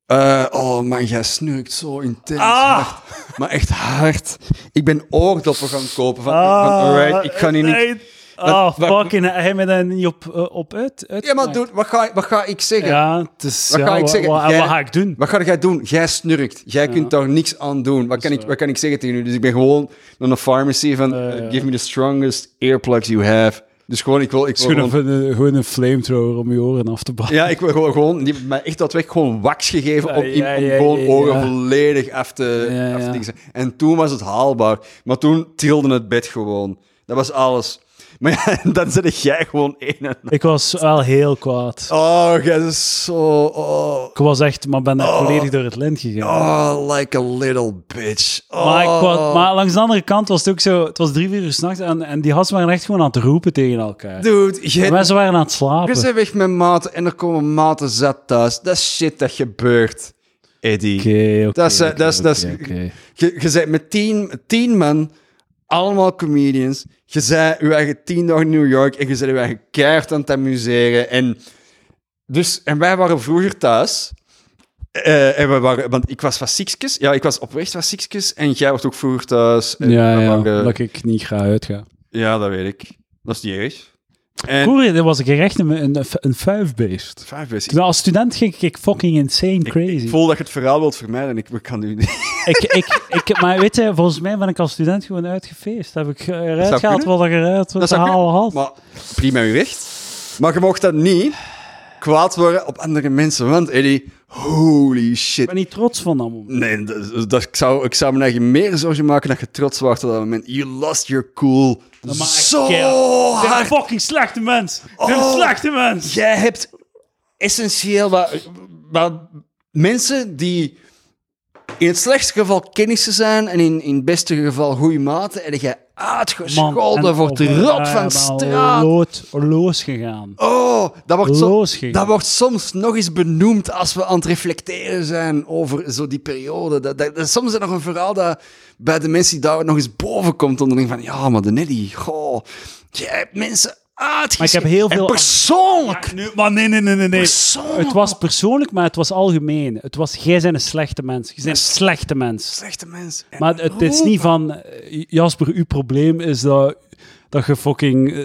Eh, oh man, jij snurkt zo intens.
Ah.
hard. Maar echt hard. Ik ben oordoppen gaan kopen. Van, van,
Ah,
alright, ik ga nu niet...
nee. Ah,
Wat- wat-
fucking, hij me daar niet op, eh, op uit, uit.
Ja, maar dude, wat, ga, wat ga ik zeggen?
Ja, het is...
Wat
ja,
ga ik
wa-
zeggen?
wa- en
Jij-
wat ga ik doen?
Wat ga jij doen? Jij snurkt. Jij kunt daar niks aan doen. Wat kan, ik, wat kan ik zeggen tegen u? Dus ik ben gewoon naar een pharmacy van... eh,
ja.
Give me the strongest earplugs you have. Dus gewoon, ik wil... Ik wil
Gewoon
gewoon,
een, gewoon een flamethrower om je oren af te bakken.
ja, ik wil gewoon... gewoon die hebben mij echt dat weg gewoon wax gegeven
Ja,
om, in-
ja,
om
ja,
gewoon
ja,
oren
ja.
volledig af te...
Ja,
af te
ja.
dingen. En toen was het haalbaar. Maar toen trilde het bed gewoon. Dat was alles. Maar ja, dan zit jij gewoon één. en-
Ik was wel heel kwaad.
Oh, jij is zo... Oh,
Ik was echt, maar ben daar volledig door het lint gegaan.
oh, like a little bitch. Oh.
Maar, ik kwam- maar langs de andere kant was het ook zo, het was drie, vier uur s'nachts en, en die gasten waren echt gewoon aan het roepen tegen elkaar.
Dude, jij...
De mensen waren aan het
Je
slapen.
bent weg met maten en er komen maten zat thuis. Dat is shit dat gebeurt, Eddie.
Oké, oké,
Dat is, eh,
oké,
dat is- dat is-
oké, oké.
Je, je bent met tien, tien man, allemaal comedians. Je bent je eigen tien dagen in New York en je bent je eigen keihard aan het amuseren. En, dus, en wij waren vroeger thuis. Eh, en we waren, want ik was van Sixkes. Ja, ik was op weg van Sixkes. En jij was ook vroeger thuis. En
Ja,
we
ja,
waren-
dat ik niet ga uitgaan.
ja, dat weet ik. Dat is niet erg. En,
Vroeger er was ik echt een, een, een fuifbeest.
Vijf is-
Terwijl als student ging ik fucking insane crazy.
Ik voel dat je het verhaal wilt vermijden. Ik, ik kan nu niet.
ik, ik, ik, maar weet je, volgens mij ben ik als student gewoon uitgefeest. Heb ik
Dat
eruit
zou
gehaald
kunnen.
wat ik eruit te
Dat zou
halen had.
Maar prima uw recht. Maar je mocht dat niet kwaad worden op andere mensen. Want Eddie, holy
ik
shit.
ben niet trots van dat moment.
Nee, dat, dat- ik, zou, ik zou me eigen meer zorgen maken dat je trots was op dat moment. You lost your cool
maar
zo
kerel. Ik ben een
hard.
fucking slechte mens. Ik ben een
Oh.
slechte mens.
Jij hebt essentieel wat, wat mensen die in het slechtste geval kennissen zijn en in, in het beste geval goede maten. En jij uitgescholden
en
Ah, voor het
over-
rot
ja,
van
maar
straat.
Lood, loos gegaan.
Oh, dat wordt, zo-
Losgegaan.
dat wordt soms nog eens benoemd als we aan het reflecteren zijn over zo die periode. Dat, dat, dat- soms is er nog een verhaal dat bij de mensen die daar nog eens boven komt. Dan denk van, ja, maar de Nelly, goh, jij hebt mensen uitgeschreven.
Maar ik heb heel veel-
En persoonlijk.
Nu, maar nee, nee, nee, nee. nee.
Persoonlijk.
Het was persoonlijk, maar het was algemeen. Het was, jij bent een slechte mens. Je bent een slechte mens.
Slechte mens. En-
Maar het is niet van, eh, Jasper, uw probleem is dat, dat je fucking eh,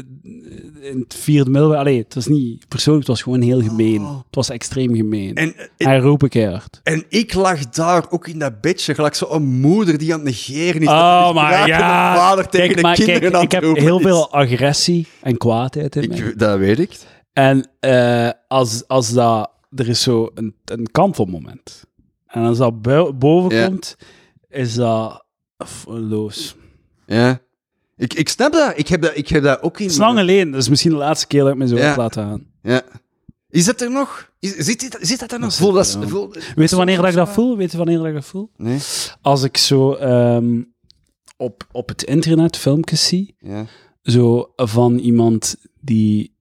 in het vierde middelbaar... Allee, het was niet persoonlijk, het was gewoon heel gemeen. Het was extreem gemeen.
Oh. En, eh, en,
Hij roept keihard.
en ik lag daar ook in dat bedje, gelijk zo'n moeder die aan het negeren is. Dat
Oh,
is
maar
braken
ja.
de vader tegen
Kijk,
de
maar
kinderen
kijk,
aan
ik
het
heb
roepen
heel
is.
veel agressie en kwaadheid in mij.
Ik, dat weet ik.
En eh, als, als dat... Er is zo een, een kantelmoment. En als dat bui- boven
Ja.
komt, is dat f- loos.
Ja. Ik, ik snap dat. Ik heb dat, ik heb dat ook in.
Het is lang geleden, dat is misschien de laatste keer dat ik me zo
Ja.
heb laten gaan.
Ja. Is dat er nog? Is, zit, dit- zit dat er nog?
zit
Voel
er
dat,
wel.
voel,
Weet je wanneer dat ik dat voel? Weet je wanneer dat ik dat voel?
Nee.
Als ik zo ehm, op, op het internet filmpjes zie,
Ja.
zo van iemand die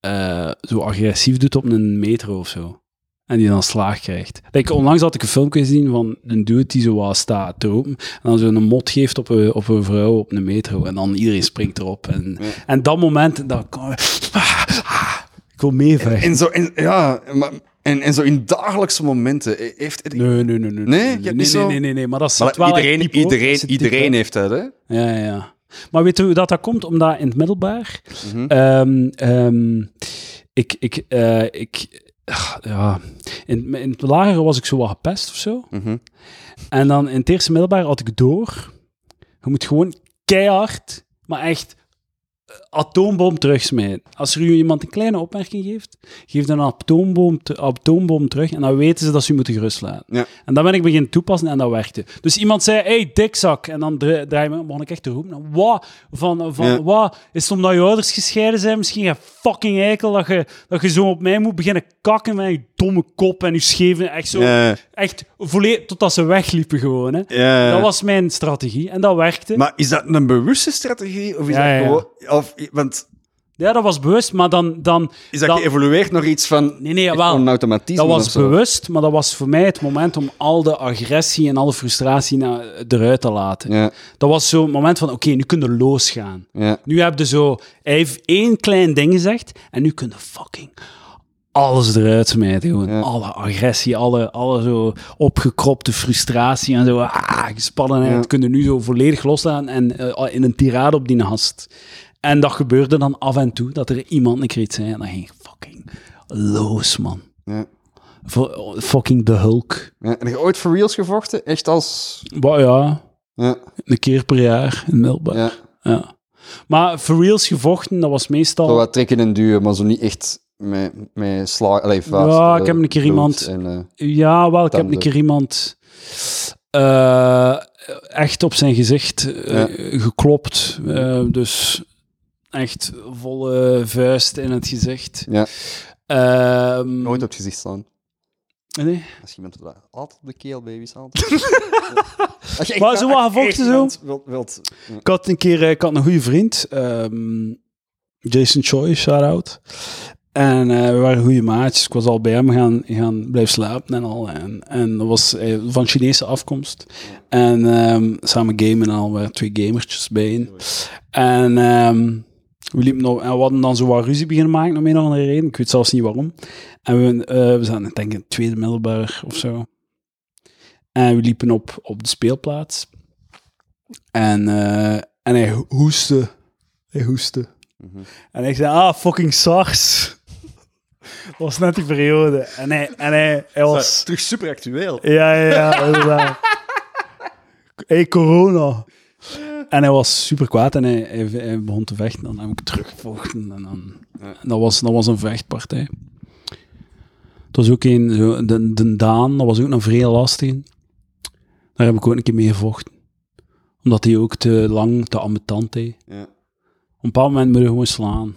eh, zo agressief doet op een metro of zo. En die dan slaag krijgt. Like, onlangs had ik een filmpje gezien van een dude die zo wat staat te roepen. En dan zo een mot geeft op een, op een vrouw op een metro. En dan iedereen springt erop. En, en dat moment, dat kan... ik wil meevechten.
En zo, en, ja, maar, en, en zo in dagelijkse momenten eh, heeft. het-
Nee, nee, nee. Nee,
je hebt
nee,
niet
nee,
zo-
nee, nee, nee, Maar dat zit
Maar
wel echt
iedereen,
diep, hoor. Dat
iedereen,
zit diep,
iedereen
hè.
heeft dat, hè?
Ja, ja, ja. Maar weet je hoe dat, dat komt? Omdat in het middelbaar... ehm, ehm, ik... ik, eh, ik ah, ja. In, in het lager was ik zo wat gepest of zo.
Mhm.
En dan in het eerste middelbaar had ik door. Je moet gewoon keihard, maar echt eh, atoombom terugsmijten. Als er u iemand een kleine opmerking geeft, geef dan een atoomboom, te- atoombom terug en dan weten ze dat ze u moeten gerust laten.
Ja.
En dan ben ik beginnen toepassen en dat werkte. Dus iemand zei, hey, dikzak. En dan dra- draai me, begon ik echt te roepen. Wat? Van, van
Ja.
wat? Is het omdat je ouders gescheiden zijn? Misschien je fucking eikel dat je, dat je zo op mij moet beginnen kakken met je domme kop en je scheven. Echt zo.
Ja.
Echt volledig totdat ze wegliepen gewoon. Hè.
Ja.
Dat was mijn strategie en dat werkte.
Maar is dat een bewuste strategie? Of is
Ja,
dat
ja.
gewoon. Of, want
ja, dat was bewust, maar dan... dan
is dat,
dan-
geëvolueerd naar iets van.
Nee, nee,
Een
wel.
automatisme
Dat
of
was
zo?
bewust, maar dat was voor mij het moment om al de agressie en alle frustratie naar, eruit te laten.
Ja,
Dat was zo'n moment van, oké, nu kun je losgaan.
ja.
Nu heb je zo... Hij heeft één klein ding gezegd en nu kun je fucking alles eruit smijten. Gewoon.
Ja.
Alle agressie, alle, alle zo opgekropte frustratie en zo ah, gespannenheid.
Ja.
Kun je nu zo volledig loslaten en eh, in een tirade op die gast. En dat gebeurde dan af en toe, dat er iemand een kreet zei en dan ging ik fucking los, man.
ja.
Vo- Fucking de Hulk.
Ja. En heb je ooit voor reals gevochten? Echt als.
Maar ja,
Ja,
een keer per jaar in Melbourne. Ja.
ja.
Maar for reals gevochten, dat was meestal...
Zo wat trekken en duwen, maar zo niet echt met, met slaag. Allee, vuist,
Ja,
eh,
ik heb een keer
bloed
iemand-
en, eh,
Ja, wel, ik heb
Tanden.
een keer iemand eh, echt op zijn gezicht eh,
Ja.
geklopt. Eh, dus Echt volle vuist in het gezicht.
Ja.
Ehm,
Nooit op het gezicht slaan.
Nee.
Als je iemand op de- altijd op de keel, baby's. Altijd. Als je echt-
Maar zo wat
als je echt
gevochten zo.
iemand wilt- wilt-
Ik had een keer eh, ik had een goede vriend, ehm, Jason Choi, shout-out. En eh, we waren goede maatjes. Ik was al bij hem gaan, gaan blijven slapen en al. En, en dat was eh, van Chinese afkomst. En ehm, samen gamen en al, we waren twee gamertjes bijeen. En ehm, we liepen nog, en we hadden dan zo wat ruzie beginnen maken, om een of andere reden. Ik weet zelfs niet waarom. En we, eh, we zaten, ik denk, in het tweede middelbaar of zo. En we liepen op, op de speelplaats. En, eh, en hij ho- hoestte. Hij hoestte. En ik zei, ah, fucking SARS. Dat was net die periode. En hij, en hij, hij was...
Terug super actueel.
Ja, ja, ja, inderdaad. hey, corona. En hij was super kwaad en hij, hij, hij begon te vechten. Dan heb ik teruggevochten. En dan, en dat, was, dat was een vechtpartij. Het was ook een, zo, de, de Daan, dat was ook een vrij lastige. Daar heb ik ook een keer mee gevochten. Omdat hij ook te lang, te ambetant deed. Op
Ja.
een bepaald moment moet je gewoon slaan.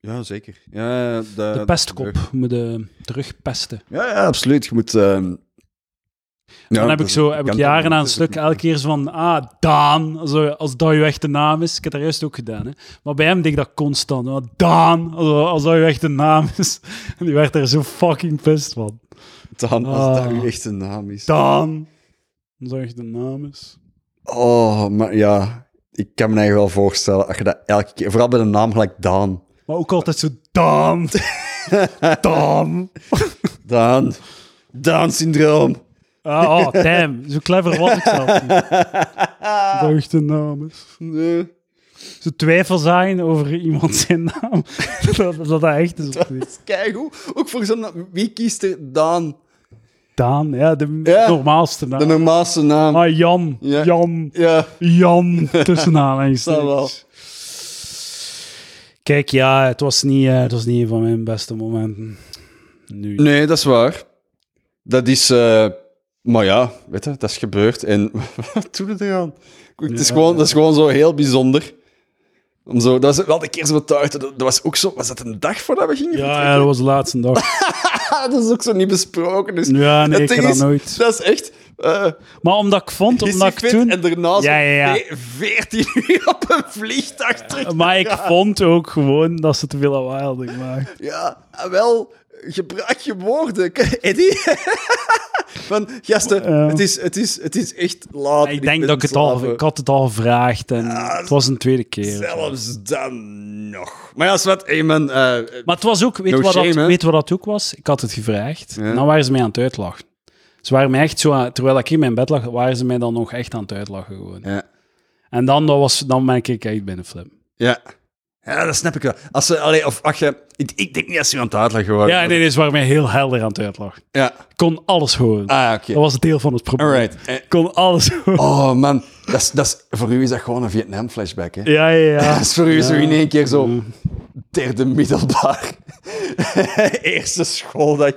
ja, zeker. Ja, de,
De pestkop moet je terugpesten.
Ja, ja, absoluut. Je moet... ehm, ja,
dan heb ik
dat-
zo heb ik
kan-
jaren aan een stuk elke keer zo van, ah, Daan, zo, als dat je echte naam is. Ik heb dat juist ook gedaan, hè. Maar bij hem deed ik dat constant. hè. Daan, als, als dat je echte naam is. En die werd er zo fucking pissed van.
Dan, als dat
Ah.
uw echte naam is.
Daan, als dat je echte naam is.
Oh, maar ja. Ik kan me eigenlijk wel voorstellen, als je dat elke keer... Vooral bij de naam gelijk Daan.
Maar ook altijd zo, Daan, Daan.
Daan. Daan-syndroom.
Ah, oh, damn, zo clever was ik zelf niet. Dat je echte naam is.
Nee.
Zo twijfelzaaien over iemand zijn naam. dat, dat dat echt is of niet.
Dat is keigoed. Ook voor zo'n... Wie kiest er Daan?
Daan, ja, de
Ja.
normaalste naam.
De normaalste naam.
Ah, Jan,
Ja.
Jan,
Ja.
Jan, tussen aanhalingstekens.
Dat wel.
Kijk, ja, het was niet, eh, het was niet een van mijn beste momenten. Nu.
Nee, dat is waar. Dat is... eh, maar ja, weet je, dat is gebeurd. En wat doen we eraan? Kijk, Het is,
Ja.
gewoon, dat is gewoon zo heel bijzonder. Om zo, dat is wel de keer zo betuigd. Dat, dat was ook zo... Was dat een dag voordat we gingen
Ja, ja, dat was de laatste dag.
vertrekken? Dat is ook zo niet besproken. Dus
Ja, nee,
het
ik
ding
heb dat
is,
nooit.
Dat is echt... eh
Maar omdat ik vond,
is
omdat
hij
ik
fit
toen...
en daarna
Ja, ja, ja.
nee, 14 uur op een vliegtuig terug.
Maar ik vond ook gewoon dat ze te veel lawaai hadden gemaakt.
Ja, ah, wel, gebruik je woorden, Eddie. Van, gasten,
Ja.
het, is, het, is, het is echt laat. en
Ik denk
ben
dat ik het al...
slapen.
Ik had het al gevraagd en het was een tweede keer.
Zelfs dan nog. Maar ja, is wat, hey man, eh,
Maar het was ook, weet,
No
je wat,
shame,
dat,
hè?
weet je wat dat ook was? Ik had het gevraagd. En dan waren ze mij aan het uitlachen. Ze waren mij echt zo aan- terwijl ik in mijn bed lag, waren ze mij dan nog echt aan het uitlachen gewoon.
Ja.
En dan, dat was, dan ben ik echt binnen flip.
ja. Ja, dat snap ik wel. Als ze, allee, of, ach, je, ik, ik denk niet als ze aan het uitleggen worden.
Ja, nee, nee, ze waren mij heel helder aan het uitlachen.
Ja.
Ik kon alles horen.
Ah, oké.
Dat was het deel van het probleem.
Alright. Eh,
Ik kon alles horen.
Oh, man. Dat is, dat is, voor u is dat gewoon een Vietnam-flashback, hè?
Ja, ja, ja.
Dat is voor u zo in één keer zo. Derde middelbaar. Eerste schooldag.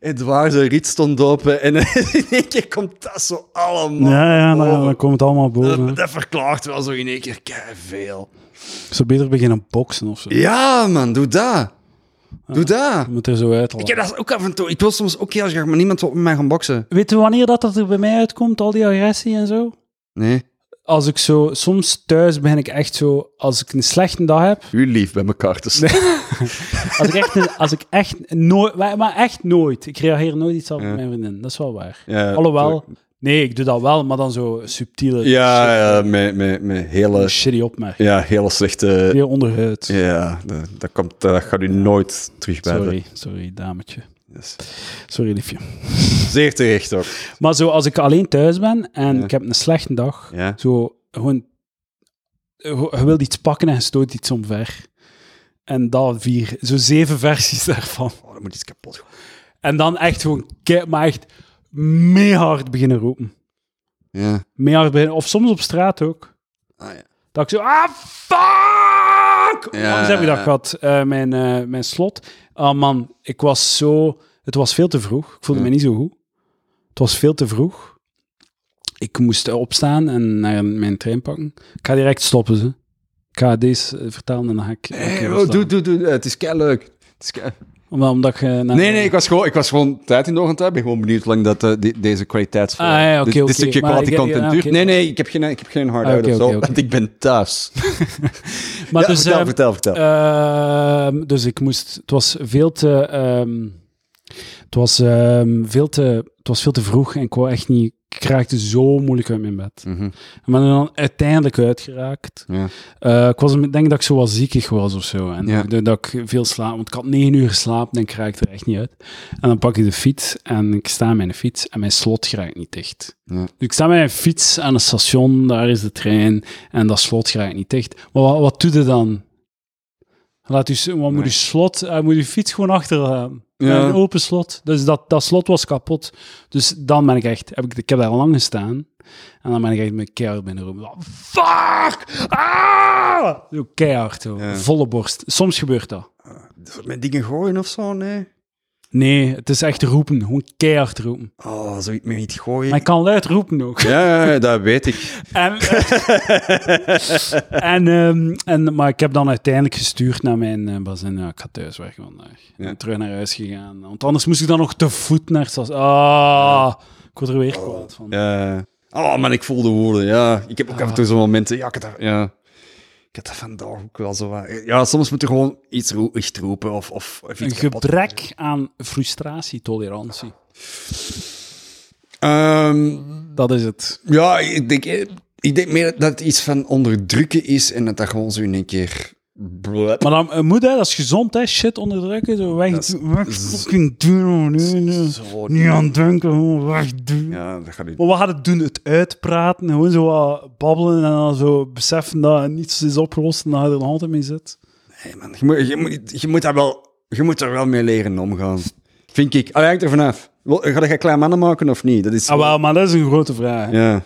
Edouard zijn riet stond open. En in één keer komt dat zo allemaal.
Ja, ja, dan,
boven.
dan komt het allemaal boven.
dat,
hè.
dat verklaart wel zo in één keer veel.
Ik zou beter beginnen boksen of zo.
Ja, man, doe dat. Doe dat.
Je moet er zo
Ik
uitlachen.
heb dat ook af en toe. Ik wil soms ook heel graag, maar niemand wil met mij gaan boksen.
Weet je wanneer dat, dat er bij mij uitkomt, al die agressie en zo?
Nee.
Als ik zo... Soms thuis ben ik echt zo... Als ik een slechte dag heb,
U lief bij elkaar te staan.
Als ik echt, als ik echt nooit, maar maar echt nooit. Ik reageer nooit iets af op
Ja.
mijn vriendin. Dat is wel waar.
Ja,
Alhoewel, nee, ik doe dat wel, maar dan zo subtiele,
Ja, ja, met, met, met hele,
shitty opmerking.
ja, hele slechte
Weer onderhuid.
Ja, dat, dat, komt, eh, dat gaat u nooit terug bij.
Sorry, sorry, dametje.
Yes.
Sorry, liefje.
Zeer terecht ook.
Maar zo, als ik alleen thuis ben en
Ja.
ik heb een slechte dag,
Ja.
zo gewoon, eh, je je wilt iets pakken en je stoot iets omver. En dat vier, zo zeven versies daarvan.
Oh, dat moet iets kapot gaan.
En dan echt gewoon, kei- maar echt mega hard beginnen roepen.
Ja.
Mega hard beginnen, of soms op straat ook.
Ah, ja.
Dat ik zo, ah, fuck!
Ja.
Onlangs heb ik dat gehad, eh, mijn, eh, mijn slot. Ah man, ik was zo... Het was veel te vroeg. Ik voelde me niet zo goed. Het was veel te vroeg. Ik moest eh, opstaan en naar mijn trein pakken. Ik ga direct stoppen, ze. Ik Ik ga deze eh, vertalen en dan ga ik...
Hey, oh, doe, doe, doe. Eh, Het is kei leuk. Het is kei-
Omdat, omdat je... na-
Nee, nee, ik was gewoon, ik was gewoon tijd in de ochtend. Ik ben gewoon benieuwd hoe lang dat, eh, die- deze kwaliteits...
Ah, ja, oké,
dit,
oké,
dit stukje
maar
quality
ik- ja,
content
oké.
duurt. Nee, nee, ik heb geen, ik heb geen hard
Ah,
out
oké,
of zo,
oké, oké.
want ik ben thuis.
Maar
Ja,
dus,
vertel,
ehm,
vertel, vertel.
ehm, dus ik moest... Het was veel te... ehm, het, was, ehm, veel te het was veel te vroeg en ik wou echt niet... Ik raakte zo moeilijk uit mijn bed.
Mhm.
En ben er dan uiteindelijk uitgeraakt.
Ja.
Eh, ik was, ik denk dat ik zo wat ziekig was of zo. En
Ja.
dat, dat ik veel slaap. Want ik had negen uur geslapen en ik raakte er echt niet uit. En dan pak ik de fiets en ik sta aan mijn fiets en mijn slot raakt niet dicht.
Ja.
Dus ik sta met mijn fiets aan het station, daar is de trein en dat slot raakt niet dicht. Maar wat, wat doe je dan? Laat u, s- wat moet
Nee.
je slot, eh, moet je fiets gewoon achterlaten.
Ja.
Een open slot. Dus dat, dat slot was kapot. Dus dan ben ik echt, heb ik, ik heb daar lang gestaan. En dan ben ik echt met keihard binnenroepen. Fuck! Ah! Zo keihard, zo.
Ja.
volle borst. Soms gebeurt dat.
Met dingen gooien of zo, nee.
Nee, het is echt roepen. Gewoon keihard roepen.
Oh, zoiets meer niet gooien.
Maar ik kan luid roepen ook.
Ja, ja, ja, dat weet ik.
En, eh, en, ehm, en, maar ik heb dan uiteindelijk gestuurd naar mijn eh bazin. Ja, ik ga thuis weg vandaag. En
Ja.
terug naar huis gegaan. Want anders moest ik dan nog te voet naar het station. Ah, ik word er
Oh,
weer kwaad van.
Ja. Oh man, ik voel de woorden, ja. Ik
Ah.
heb ook af en toe zo'n momenten, ja, ik heb dat, ja. Ik heb dat vandaag ook wel zo wat. Ja, soms moet je gewoon iets roe- echt roepen of, of, of
Een
iets kapot-
gebrek aan frustratietolerantie.
Ehm,
Dat is het.
Ja, ik denk, eh, ik denk meer dat het iets van onderdrukken is en dat dat gewoon zo in een keer... blep.
Maar dan eh, moet hij, dat is gezond, hè? Shit onderdrukken. Zo weg,
Dat is-
weg fucking doen. Nee, nee.
Zo,
Niet aan denken, gewoon wegdoen.
Ja, dat gaat niet.
Maar we hadden het doen, het uitpraten, gewoon zo wat babbelen en dan zo beseffen dat niets is opgelost en dat je er nog altijd mee zit.
Nee, man, je, moet, je, moet, je, moet daar wel, je moet daar wel mee leren omgaan. Vind ik. Allee, hangt er vanaf. Wel, Ga je kleine mannen maken of niet? Dat is...
Ah, wel, maar dat is een grote vraag.
Ja,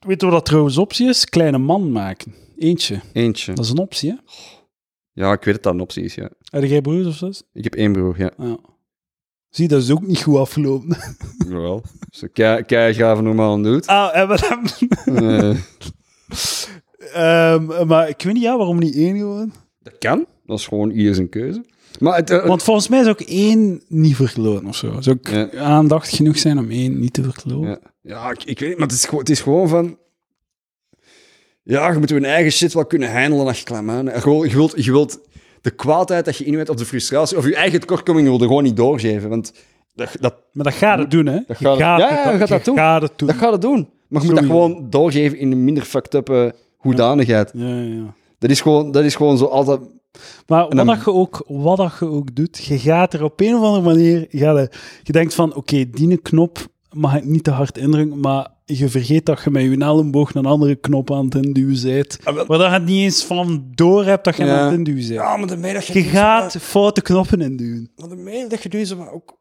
Weet je wat dat trouwens optie is? Kleine man maken. Eentje.
eentje.
Dat is een optie, hè?
Ja, ik weet het dat een optie is, ja.
Heb jij broers of zus?
Ik heb één broer, ja.
Ja. Zie, dat is ook niet goed afgelopen.
Jawel. Zo kei, kei graven normaal aan doet.
Ah, en wat hebben
Eh,
Ehm, maar ik weet niet, ja, waarom niet één gewoon?
dat kan. Dat is gewoon ieder zijn keuze. Maar het... eh,
Want volgens mij zou ik één niet verkloten of zo. Zou ik
Ja.
aandacht genoeg zijn om één niet te verkloten?
Ja, ja ik, ik weet niet, maar het is, gewoon- het is gewoon van... Ja, je moet je eigen shit wel kunnen handelen als je klaar bent. Je wilt, je wilt, je wilt de kwaadheid dat je in hebt, of de frustratie, of je eigen tekortkomingen wil je gewoon niet doorgeven. Want dat, dat,
Maar dat gaat het doen, hè?
Dat gaat het- ja, ja, je gaat dat doen.
Je gaat het doen.
dat gaat het doen. Maar je moet dat
Sowieso.
gewoon doorgeven in een minder fucked up eh, hoedanigheid.
Ja, ja, ja.
Dat is gewoon, dat is gewoon zo altijd...
Maar wat,
dan-
dat je ook, wat dat je ook doet, je gaat er op een of andere manier... Je, gaat er- je denkt van, oké, die een knop mag ik niet te hard indrukken, maar je vergeet dat je met je elleboog een andere knop aan het induwen bent.
Ah, wel-
Waar dat je het niet eens van door hebt dat je
Ja.
aan het induwen bent.
maar de dat
Je gaat foute knoppen induwen.
Maar de mail dat je nu maar ook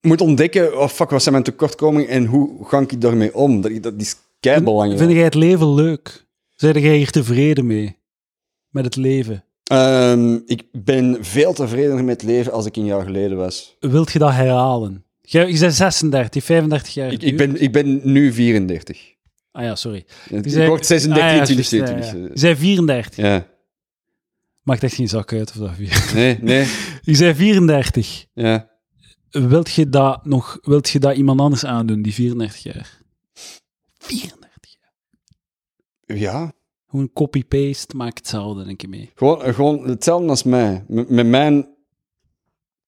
moet ontdekken, oh fuck, wat zijn mijn tekortkomingen en hoe ga ik daarmee om? Dat, dat is kei belangrijk.
Vind jij het leven leuk? Zijn jij hier tevreden mee? Met het leven?
Ehm, ik ben veel tevredener met het leven als ik een jaar geleden was.
Wilt je dat herhalen? Jij- Je bent 36, 35 jaar.
Ik, ik, ben, ik ben nu 34.
Ah ja, sorry.
Ik
zei-
word 36
Ah ja,
in 2022.
juist, ja, ja. Je zei 34.
ja.
Maakt echt geen zak uit of dat vier.
nee, nee.
Je zei 34.
Ja.
Wilt je dat nog, wilt je dat iemand anders aandoen, die 34 jaar? 34 jaar.
ja.
Gewoon copy-paste, maak hetzelfde, denk ik mee.
Gewoon, gewoon hetzelfde als mij. Met, met mijn,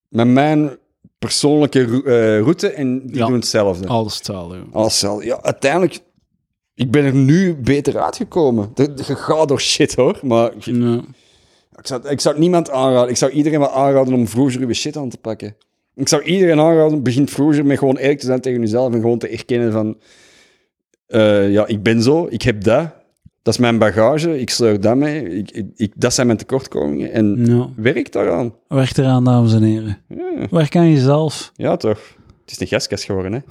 met mijn persoonlijke ro- eh, route en die
Ja.
doen hetzelfde.
Alles hetzelfde.
Alles hetzelfde. Ja, uiteindelijk, ik ben er nu beter uitgekomen. De- de- Je gaat door shit hoor, maar ik,
Ja.
Ik zou, ik zou het niemand aanraden. Ik zou iedereen wel aanraden om vroeger uw shit aan te pakken. Ik zou iedereen aanraden, begin vroeger met gewoon eerlijk te zijn tegen jezelf en gewoon te erkennen van... eh, ja, ik ben zo, ik heb dat. Dat is mijn bagage, ik sleur dat mee. Ik, ik, ik- dat zijn mijn tekortkomingen. En
Ja.
werk daaraan.
Werk eraan, dames en heren.
Ja,
Werk aan jezelf.
ja, toch. Het is een gastkast geworden, hè.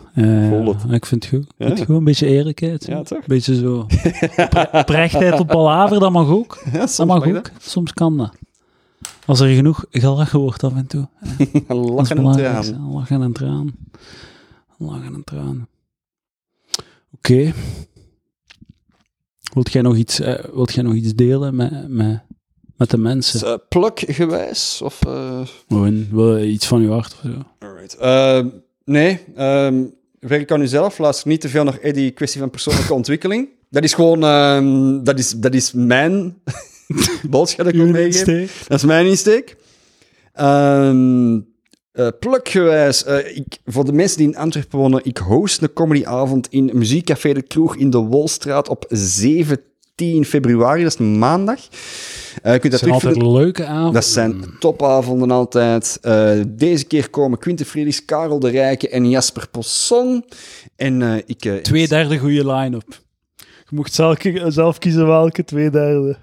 Eh,
Voel het.
Ik vind het goed. Ik
Ja.
vind het goed. Een beetje eerlijkheid.
Ja, toch?
Een beetje zo. Pre- Prechtheid op palaver, dat mag ook. dat mag ook. Soms kan dat. Als er genoeg gelachen wordt af en toe.
Lachen en
Dat is
traan.
belangrijk, hè. Lachen en traan. Lachen en traan. Oké. Wilt jij nog iets, eh, wilt jij nog iets delen met, met, met de mensen?
Uh, gewijs? Of, eh,
Gewoon wil je iets van je hart of zo?
alright. Eh, nee, ehm, werk aan uzelf. Luister niet te veel naar Eddie, kwestie van persoonlijke ontwikkeling. Dat is gewoon, ehm, dat, is, dat is mijn boodschap dat ik wil meegeven.
steek.
Dat is mijn insteek. Ehm eh, plukgewijs, eh, ik, voor de mensen die in Antwerpen wonen, ik host een comedyavond in Muziekcafé De Kroeg in de Wolstraat op 17 februari, dat is een maandag. Eh, je kunt dat
Dat zijn altijd
terugvinden.
leuke avonden.
Dat zijn
Mm.
topavonden altijd. Eh, deze keer komen Quinten Friedrichs, Karel de Rijke en Jasper Posson. En eh, ik... eh,
Twee derde goede line-up. Je mocht zelf, ki- eh, zelf kiezen welke twee derde.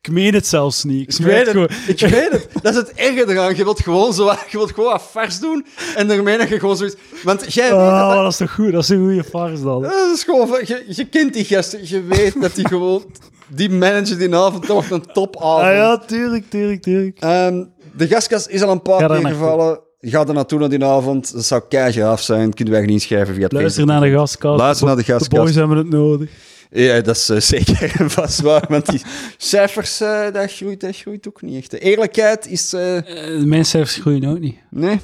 Ik meen het zelfs niet. Ik,
Ik
smeer
weet,
het
het,
gewoon. Ah,
ik weet het. Dat is het erge eraan. Je wilt gewoon, zo, je wilt gewoon wat vers doen en daarmee dat je gewoon zoiets... Want jij weet
Ah,
dat- Eh,
dat is toch goed? Dat is een goede farce dan.
dat is gewoon... van- Je, je kent die gasten. Je weet dat die gewoon... Die manager die avond toch een topavond.
Ah ja, tuurlijk, tuurlijk, tuurlijk.
Ehm, de gastkast is al een paar
Ga daar
keer
naartoe.
gevallen. Ga er naartoe naar die avond. Dat zou keihard af zijn. Kunnen wij niet inschrijven via het
Luister
Facebook.
naar de gastkast.
Luister naar de
De boys
gastkast.
hebben het nodig.
Ja, dat is eh, zeker en vast waar. Want die cijfers, eh, dat, groeit, dat groeit ook niet echt. De eerlijkheid is... eh,
mijn cijfers groeien ook niet.
nee.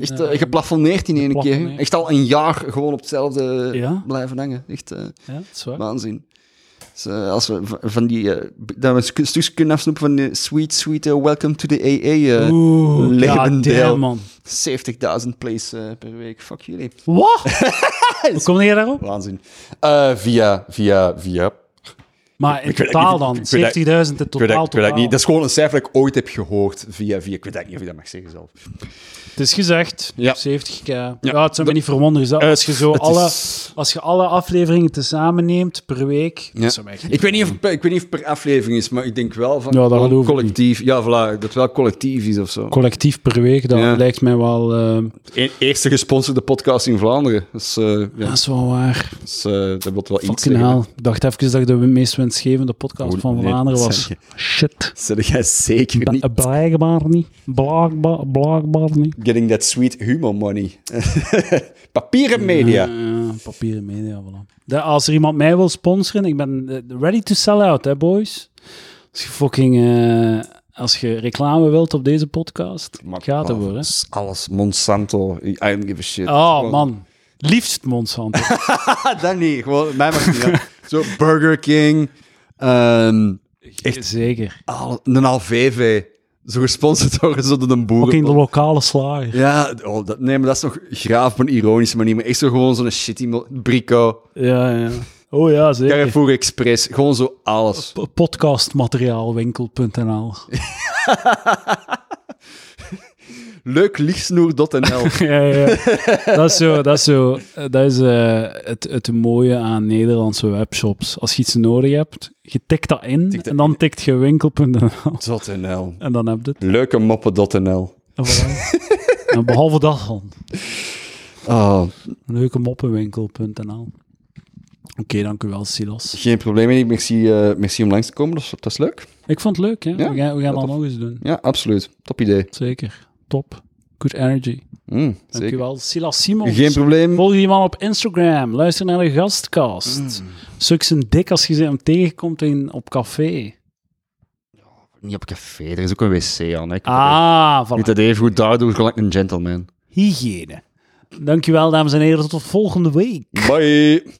Echt eh, geplafonneerd in één keer. hè.
geplafonneerd.
Echt al een jaar gewoon op hetzelfde
Ja.
blijven hangen. Echt eh,
ja, dat is waar.
waanzin. Dus, eh, als we v- van die, eh, b- dat we stu- stukjes kunnen afsnoepen van de sweet, sweet eh, Welcome to the AA. eh,
Oeh,
Levendeel.
goddamn, man.
70.000 plays eh, per week. Fuck jullie.
Wat? Hoe kom je daarop?
Waanzin. Eh, via, via, via.
Maar in
weet
totaal
niet,
dan, 70.000
ik weet dat-
in totaal.
Ik weet, dat, ik weet dat
totaal.
niet. Dat is gewoon een cijfer dat ik ooit heb gehoord. Via, via. Ik weet dat niet of je dat mag zeggen zelf.
Het is gezegd,
Ja. Eh,
70k. Ja, het zou me niet verwonderen. zo- Als je, zo
Het
alle,
is-
als je alle afleveringen tezamen neemt per week,
Ja.
dat zou mij echt niet-
Ik weet, niet of, het per- ik weet niet of het per aflevering is, maar ik denk wel van
Ja, dat
gewoon
geloof ik
collectief. Ja, voilà, dat het wel collectief is of zo.
Collectief per week, dat
Ja.
lijkt mij wel... ehm,
E- eerste gesponsorde podcast in Vlaanderen. Dus, eh, ja,
Dat is wel waar.
dus, eh, dat wordt wel iets
Fucking hell. Ik dacht even dat ik de meest winstgevende podcast
Oh,
van
nee,
Vlaanderen
dat
was.
zeg
Shit.
Zullen jij zeker niet...
Bla- Blijkbaar niet. Blijkbaar, blijkbaar niet.
Getting that sweet humor money. Papieren media.
Eh, papieren media, voilà. Dat- als er iemand mij wil sponsoren, ik ben eh, ready to sell out, hè, boys. Als je fucking... eh, als je reclame wilt op deze podcast,
Maar-
gaat ervoor, hè.
alles- Alles Monsanto. I don't give a shit.
Oh,
Gewoon-
man. Liefst Monsanto.
Ah, dat niet. Gewoon, mij mag niet. uit. Zo Burger King. ehm, Echt?
Zeker.
al- een Alvv. Zo gesponsord worden zo door een boer.
Ook in de lokale slager.
Ja, oh, dat, nee, maar dat is nog graaf op een ironische manier. Maar echt zo gewoon zo'n shitty... mo- Brico.
Ja, ja. Oh ja, zeker.
Carrefour Express, gewoon zo alles.
P- Podcastmateriaalwinkel.nl.
Leuklichtsnoer.nl.
ja, ja. Dat is zo, dat is, zo, eh, dat is eh, het, het mooie aan Nederlandse webshops. Als je iets nodig hebt, je tikt dat in
dat
en dan tikt je winkel.nl
.nl.
en dan heb je het.
Leukemoppen.nl.
En, voilà. En behalve dat dan,
Oh,
leukemoppenwinkel.nl. Oké, dank u wel, Silas.
geen probleem, Erik. Merci, eh, merci om langs te komen. Dat is, dat is leuk.
Ik vond het leuk, hè?
Ja,
we gaan, we gaan dat
tof.
nog eens doen.
Ja, absoluut. Top idee.
Zeker. Top. Good energy.
Mm, zeker.
Dankjewel, Silas Simons.
Geen probleem.
Volg die man op Instagram. Luister naar de gastkast. Zoek zijn dik als je ze hem tegenkomt in, op café.
Niet op café, er is ook een wc aan. Hè. Ik
Ah,
moet
voilà.
dat even goed daardoor gelijk een gentleman.
Hygiëne. Dankjewel, dames en heren. Tot de volgende week.
Bye.